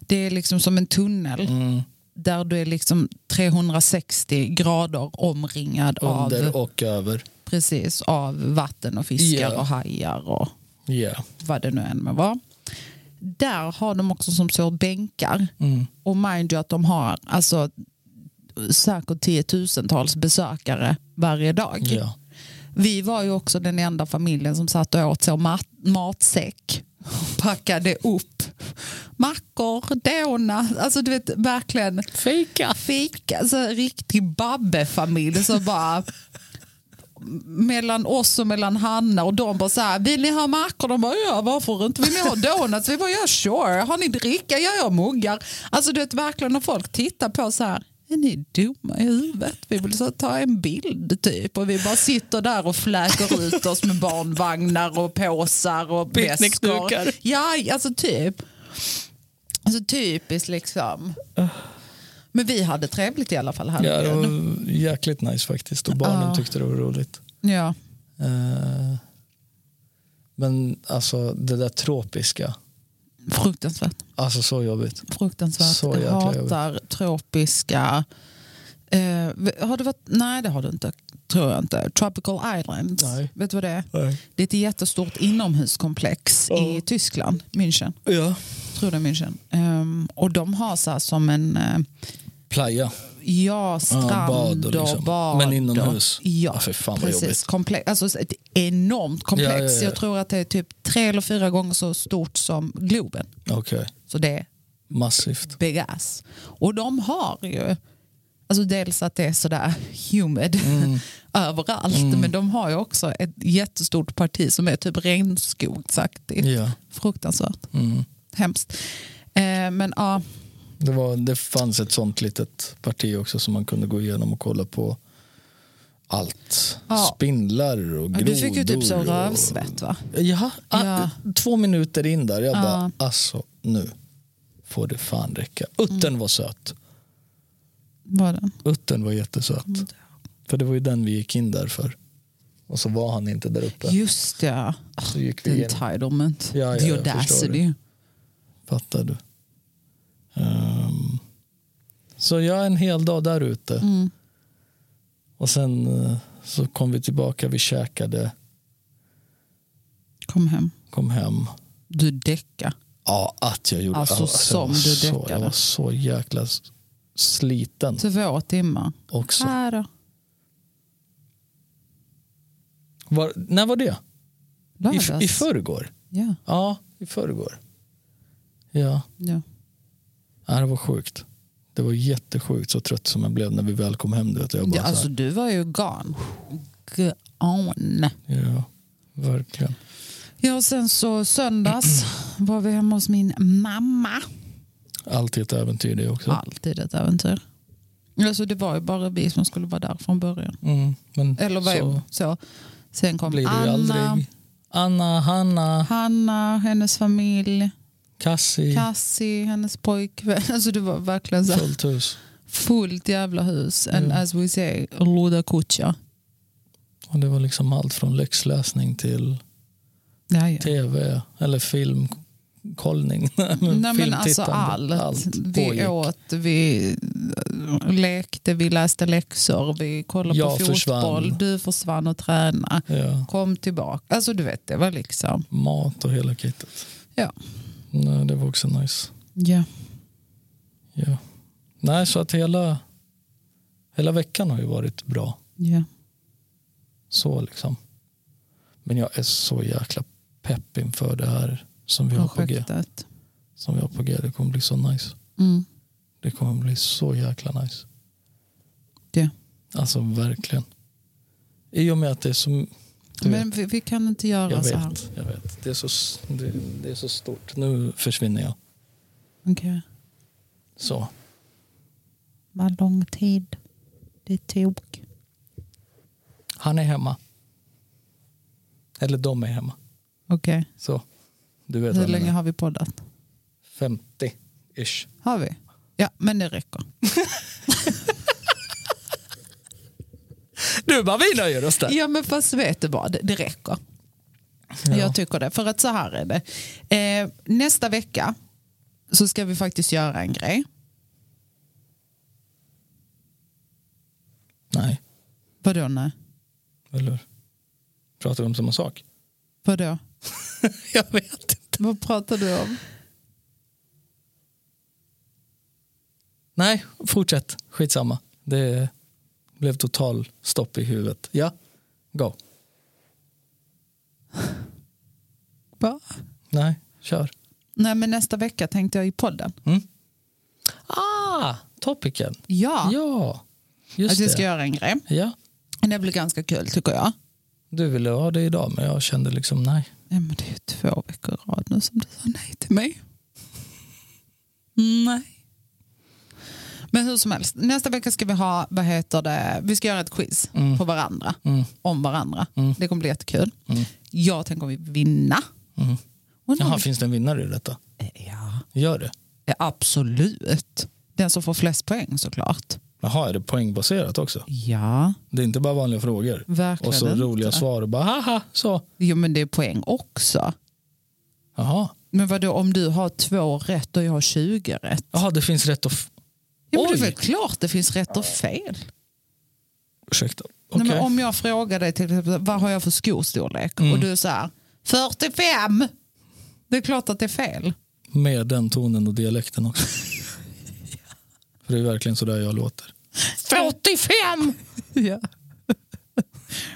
Speaker 2: Det är liksom som en tunnel
Speaker 1: ja. Mm.
Speaker 2: där du är liksom 360 grader omringad
Speaker 1: Under
Speaker 2: av,
Speaker 1: och över.
Speaker 2: precis, av vatten och fiskar
Speaker 1: Ja.
Speaker 2: och hajar och
Speaker 1: Ja.
Speaker 2: vad det nu än må vara. Där har de också som så bänkar.
Speaker 1: Mm.
Speaker 2: Och mind you att de har alltså, säkert tiotusentals besökare varje dag.
Speaker 1: ja.
Speaker 2: Vi var ju också den enda familjen som satt och åt så mat, matsäck. Packade upp mackor, donuts, alltså du vet verkligen
Speaker 1: Fika.
Speaker 2: fika, alltså riktig babbefamilj så bara mellan oss och mellan Hanna och de bara så här, vill ni ha mackor? De bara, ja varför inte? Vill ni ha donuts? Vi bara, ja sure. Har ni dricka? Ja, jag har muggar. Alltså du vet verkligen när folk tittar på så här, är ni dumma i huvudet? Vi vill så ta en bild typ och vi bara sitter där och fläker ut oss med barnvagnar och påsar och
Speaker 1: Picknickdukar.
Speaker 2: väskor. Ja, alltså typ. Alltså typiskt liksom. Men vi hade trevligt i alla fall. Här.
Speaker 1: Ja, det var jäkligt nice faktiskt och barnen
Speaker 2: Ja.
Speaker 1: tyckte det var roligt.
Speaker 2: ja.
Speaker 1: Eh, Men alltså det där tropiska,
Speaker 2: Fruktansvärt.
Speaker 1: alltså så jobbigt.
Speaker 2: Fruktansvärt.
Speaker 1: Så
Speaker 2: jag
Speaker 1: jäkla
Speaker 2: hatar tropiska... Eh, har du varit... Nej, det har du inte. Tror jag inte. Tropical Islands.
Speaker 1: Nej.
Speaker 2: Vet du vad det är? Det är ett jättestort inomhuskomplex i Tyskland, München.
Speaker 1: Ja.
Speaker 2: Tror det är München. Ehm, och de har så här som en... Eh,
Speaker 1: Playa.
Speaker 2: ja, strand
Speaker 1: Ja, bad och
Speaker 2: och,
Speaker 1: liksom.
Speaker 2: bad.
Speaker 1: Men inomhus.
Speaker 2: Och, ja,
Speaker 1: Ah, för fan vad
Speaker 2: precis.
Speaker 1: jobbigt.
Speaker 2: Komplex, alltså ett enormt komplex.
Speaker 1: Ja, ja, ja.
Speaker 2: Jag tror att det är typ tre eller fyra gånger så stort som Globen.
Speaker 1: Okej,
Speaker 2: Så det är
Speaker 1: massivt.
Speaker 2: big ass. Och de har ju, Alltså dels att det är sådär humid
Speaker 1: Mm.
Speaker 2: överallt. Men de har ju också ett jättestort parti som är typ regnskogsaktigt.
Speaker 1: Ja.
Speaker 2: Fruktansvärt.
Speaker 1: Mm.
Speaker 2: Hemskt. Eh, men ja,
Speaker 1: Det, var, det fanns ett sånt litet parti också som man kunde gå igenom och kolla på allt.
Speaker 2: Ja.
Speaker 1: Spindlar och
Speaker 2: ja,
Speaker 1: grodor.
Speaker 2: du fick ju typ så
Speaker 1: och-
Speaker 2: rövsvett va?
Speaker 1: Jaha, ah,
Speaker 2: Ja.
Speaker 1: två minuter in där. Jag
Speaker 2: Ja.
Speaker 1: bara, alltså nu får det fan räcka. Utten
Speaker 2: Mm.
Speaker 1: var söt.
Speaker 2: Var den?
Speaker 1: Utten var jättesöt.
Speaker 2: Mm.
Speaker 1: För det var ju den vi gick in där för. Och så var han inte där uppe.
Speaker 2: Just ja.
Speaker 1: Så gick vi in.
Speaker 2: Entitlement.
Speaker 1: Ja, ja,
Speaker 2: The
Speaker 1: jag förstår
Speaker 2: audacity.
Speaker 1: Fattar du? Ehm, så jag är en hel dag där ute.
Speaker 2: Mm.
Speaker 1: Och sen eh, så kom vi tillbaka, vi käkade,
Speaker 2: Kom hem.
Speaker 1: kom hem.
Speaker 2: Du däckade.
Speaker 1: Ja, att jag gjorde.
Speaker 2: Alltså,
Speaker 1: jag var
Speaker 2: som du
Speaker 1: så, Jag
Speaker 2: däckade.
Speaker 1: var så jäkla s- sliten
Speaker 2: Två timmar.
Speaker 1: också.
Speaker 2: Här då.
Speaker 1: Var, när var det?
Speaker 2: Lördags.
Speaker 1: I, I förrgår?
Speaker 2: Ja.
Speaker 1: Ja, i förrgår. Ja.
Speaker 2: ja.
Speaker 1: ja, det var sjukt. Det var jättesjukt så trött som jag blev när vi väl kom hem. Du vet, jag bara
Speaker 2: ja alltså,
Speaker 1: så
Speaker 2: du var ju gone. Gone.
Speaker 1: här, ja, verkligen.
Speaker 2: Ja, och sen så söndags var vi hemma hos min mamma.
Speaker 1: Alltid ett äventyr det också.
Speaker 2: Alltid ett äventyr. Alltså, det var ju bara vi som skulle vara där från början.
Speaker 1: Mm, men
Speaker 2: Eller vad
Speaker 1: så
Speaker 2: så. så. Sen kom
Speaker 1: blir det ju
Speaker 2: Anna,
Speaker 1: aldrig. Anna, Hanna,
Speaker 2: Hanna, hennes familj,
Speaker 1: Cassie,
Speaker 2: Cassie, hennes pojkvän. Alltså det var verkligen så här
Speaker 1: fullt hus.
Speaker 2: fullt jävla hus. And
Speaker 1: Ja.
Speaker 2: as we say, Luda Kucha.
Speaker 1: Och det var liksom allt från läxläsning till
Speaker 2: Ja, ja.
Speaker 1: tv eller filmkollning.
Speaker 2: Nej, men alltså allt.
Speaker 1: Mm, Filmtittande.
Speaker 2: Vi
Speaker 1: pågick.
Speaker 2: åt, vi eh, lekte, vi läste läxor, vi kollade
Speaker 1: Jag
Speaker 2: på fotboll.
Speaker 1: försvann.
Speaker 2: Du försvann och tränade.
Speaker 1: Ja,
Speaker 2: Kom tillbaka. Alltså du vet, det var liksom...
Speaker 1: mat och hela kittet.
Speaker 2: Ja.
Speaker 1: Nej, det var också nice.
Speaker 2: Ja.
Speaker 1: Ja. Nej, så att hela, hela veckan har ju varit bra.
Speaker 2: ja.
Speaker 1: Så liksom. Men jag är så jäkla pepp inför det här som vi har på G.
Speaker 2: Projektet.
Speaker 1: Som vi har på G. Det kommer bli så nice.
Speaker 2: Mm.
Speaker 1: Det kommer bli så jäkla nice.
Speaker 2: Ja.
Speaker 1: Alltså verkligen. I och med att det är så... Du
Speaker 2: Men vi, vi kan inte göra
Speaker 1: Jag
Speaker 2: så här.
Speaker 1: vet, jag vet. Det är så, s- det, det är så stort. Nu försvinner jag.
Speaker 2: Okej.
Speaker 1: Så.
Speaker 2: Vad lång tid det tog.
Speaker 1: Han är hemma. Eller de är hemma.
Speaker 2: Okej.
Speaker 1: Så. Du vet
Speaker 2: Hur
Speaker 1: vad jag
Speaker 2: länge
Speaker 1: menar.
Speaker 2: har vi poddat?
Speaker 1: 50-ish.
Speaker 2: Har vi? Ja, men det räcker.
Speaker 1: Du bara, vi nöjer oss där.
Speaker 2: Ja, men fast vet du vad? Det- Det räcker.
Speaker 1: Ja.
Speaker 2: Jag tycker det. För att så här är det. Eh, nästa vecka så ska vi faktiskt göra en grej.
Speaker 1: Nej,
Speaker 2: Vadå nej?
Speaker 1: eller Pratar vi om samma sak?
Speaker 2: Vadå?
Speaker 1: jag vet inte.
Speaker 2: Vad pratar du om?
Speaker 1: Nej, fortsätt. Skitsamma. Det blev total stopp i huvudet. Ja, go.
Speaker 2: Va?
Speaker 1: Nej, kör.
Speaker 2: Nej, men nästa vecka tänkte jag i podden.
Speaker 1: Ah, topicen.
Speaker 2: Ja,
Speaker 1: Ja,
Speaker 2: att
Speaker 1: just
Speaker 2: vi ska
Speaker 1: det.
Speaker 2: göra en grej.
Speaker 1: Ja.
Speaker 2: Det blir ganska kul tycker jag.
Speaker 1: Du ville ha det idag men jag kände liksom nej.
Speaker 2: Nej, men det är ju två veckor i rad nu som du sa nej till mig. Nej. Men hur som helst, nästa vecka ska vi ha, vad heter det, vi ska göra ett quiz
Speaker 1: Mm.
Speaker 2: på varandra,
Speaker 1: Mm.
Speaker 2: om varandra.
Speaker 1: Mm.
Speaker 2: Det kommer bli jättekul.
Speaker 1: Mm.
Speaker 2: Jag tänker om vi vinna.
Speaker 1: Mm.
Speaker 2: Och någon-
Speaker 1: Jaha, finns det en vinnare i detta?
Speaker 2: ja.
Speaker 1: Gör det.
Speaker 2: ja, absolut. Den som får flest poäng såklart.
Speaker 1: Jaha, är det poängbaserat också?
Speaker 2: Ja,
Speaker 1: Det är inte bara vanliga frågor
Speaker 2: verkligen
Speaker 1: och så
Speaker 2: inte.
Speaker 1: roliga svar och bara haha så.
Speaker 2: Jo, men det är poäng också.
Speaker 1: Jaha,
Speaker 2: Men vadå, om du har två rätt och jag har 20 rätt?
Speaker 1: Jaha det finns rätt och... F-
Speaker 2: Ja, men det är
Speaker 1: Oj.
Speaker 2: väl klart det finns rätt och fel.
Speaker 1: Ursäkta.
Speaker 2: Nej,
Speaker 1: Okej.
Speaker 2: men om jag frågar dig till exempel, vad har jag för skostorlek?
Speaker 1: Mm.
Speaker 2: Och du säger 45! Det är klart att det är fel.
Speaker 1: Med den tonen och dialekten också. För det är verkligen så där jag låter.
Speaker 2: 45! ja.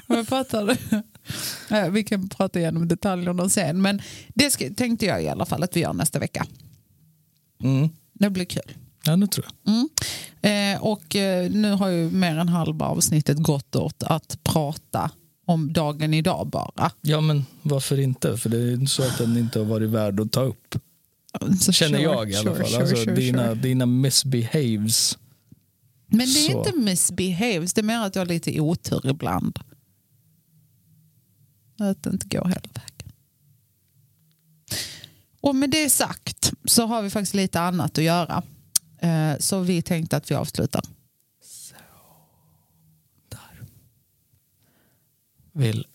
Speaker 2: Jag fattar det. Eh, Vi kan prata igenom detaljerna sen. Men det ska, tänkte jag i alla fall att vi gör nästa vecka.
Speaker 1: Mm.
Speaker 2: Det blir kul.
Speaker 1: Ja, det tror jag.
Speaker 2: Mm. Eh, och eh, nu har ju mer än halva avsnittet gått åt att prata om dagen idag bara.
Speaker 1: Ja, men varför inte? För det är ju inte så att den inte har varit värd att ta upp.
Speaker 2: Så
Speaker 1: Känner
Speaker 2: sure,
Speaker 1: jag i alla
Speaker 2: sure,
Speaker 1: fall.
Speaker 2: sure,
Speaker 1: alltså,
Speaker 2: sure,
Speaker 1: dina,
Speaker 2: sure.
Speaker 1: dina misbehaves.
Speaker 2: Men det är
Speaker 1: så.
Speaker 2: inte misbehaves, det är mer att jag har lite otur ibland. Att det inte går hela vägen. Och med det sagt så har vi faktiskt lite annat att göra. Eh, Så vi tänkte att vi avslutar.
Speaker 1: Vill,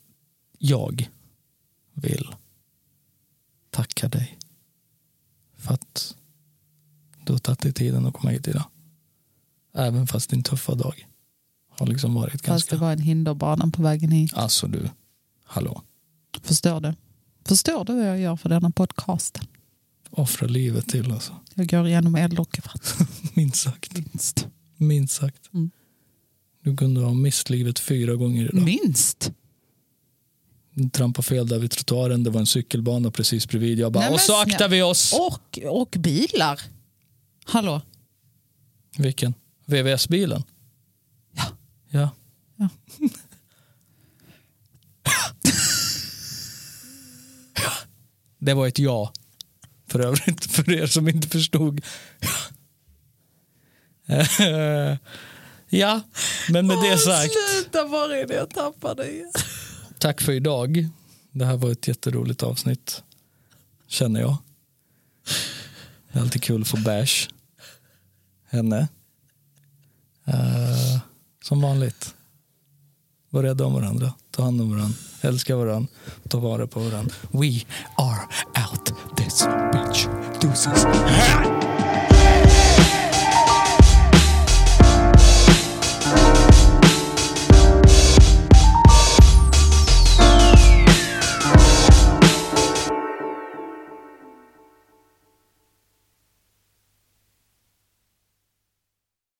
Speaker 1: jag vill tacka dig för att du har tagit dig tiden att komma hit idag. Även fast din tuffa dag har liksom varit
Speaker 2: Fast det
Speaker 1: ganska...
Speaker 2: var en hinderbana på vägen hit.
Speaker 1: Alltså du, hallå.
Speaker 2: Förstår du? Förstår du vad jag gör för denna podcast?
Speaker 1: Offra livet till alltså.
Speaker 2: Jag går igenom eld och vatten.
Speaker 1: Minst sagt.
Speaker 2: Minst.
Speaker 1: Minst sagt.
Speaker 2: Mm.
Speaker 1: Du kunde ha mist livet fyra gånger idag.
Speaker 2: Minst?
Speaker 1: Du trampade fel där vid trottoaren. Det var en cykelbana precis bredvid. Jag bara,
Speaker 2: Nej, men
Speaker 1: och så aktar
Speaker 2: snälla."
Speaker 1: vi oss.
Speaker 2: Och, och bilar. Hallå?
Speaker 1: Vilken? VVS-bilen?
Speaker 2: Ja.
Speaker 1: Ja.
Speaker 2: Ja.
Speaker 1: Ja. Det var ett ja. För övrigt, för er som inte förstod. Eh, ja, men med det sagt.
Speaker 2: Sluta, var är det jag tappade igen?
Speaker 1: Tack för idag. Det här var ett jätteroligt avsnitt. Känner jag. Det är alltid kul att få bash. Henne. Eh, som vanligt. Var rädda om varandra. Ta hand om varandra. Älska varandra. Ta vara på varandra. We are out this bitch. Deuces.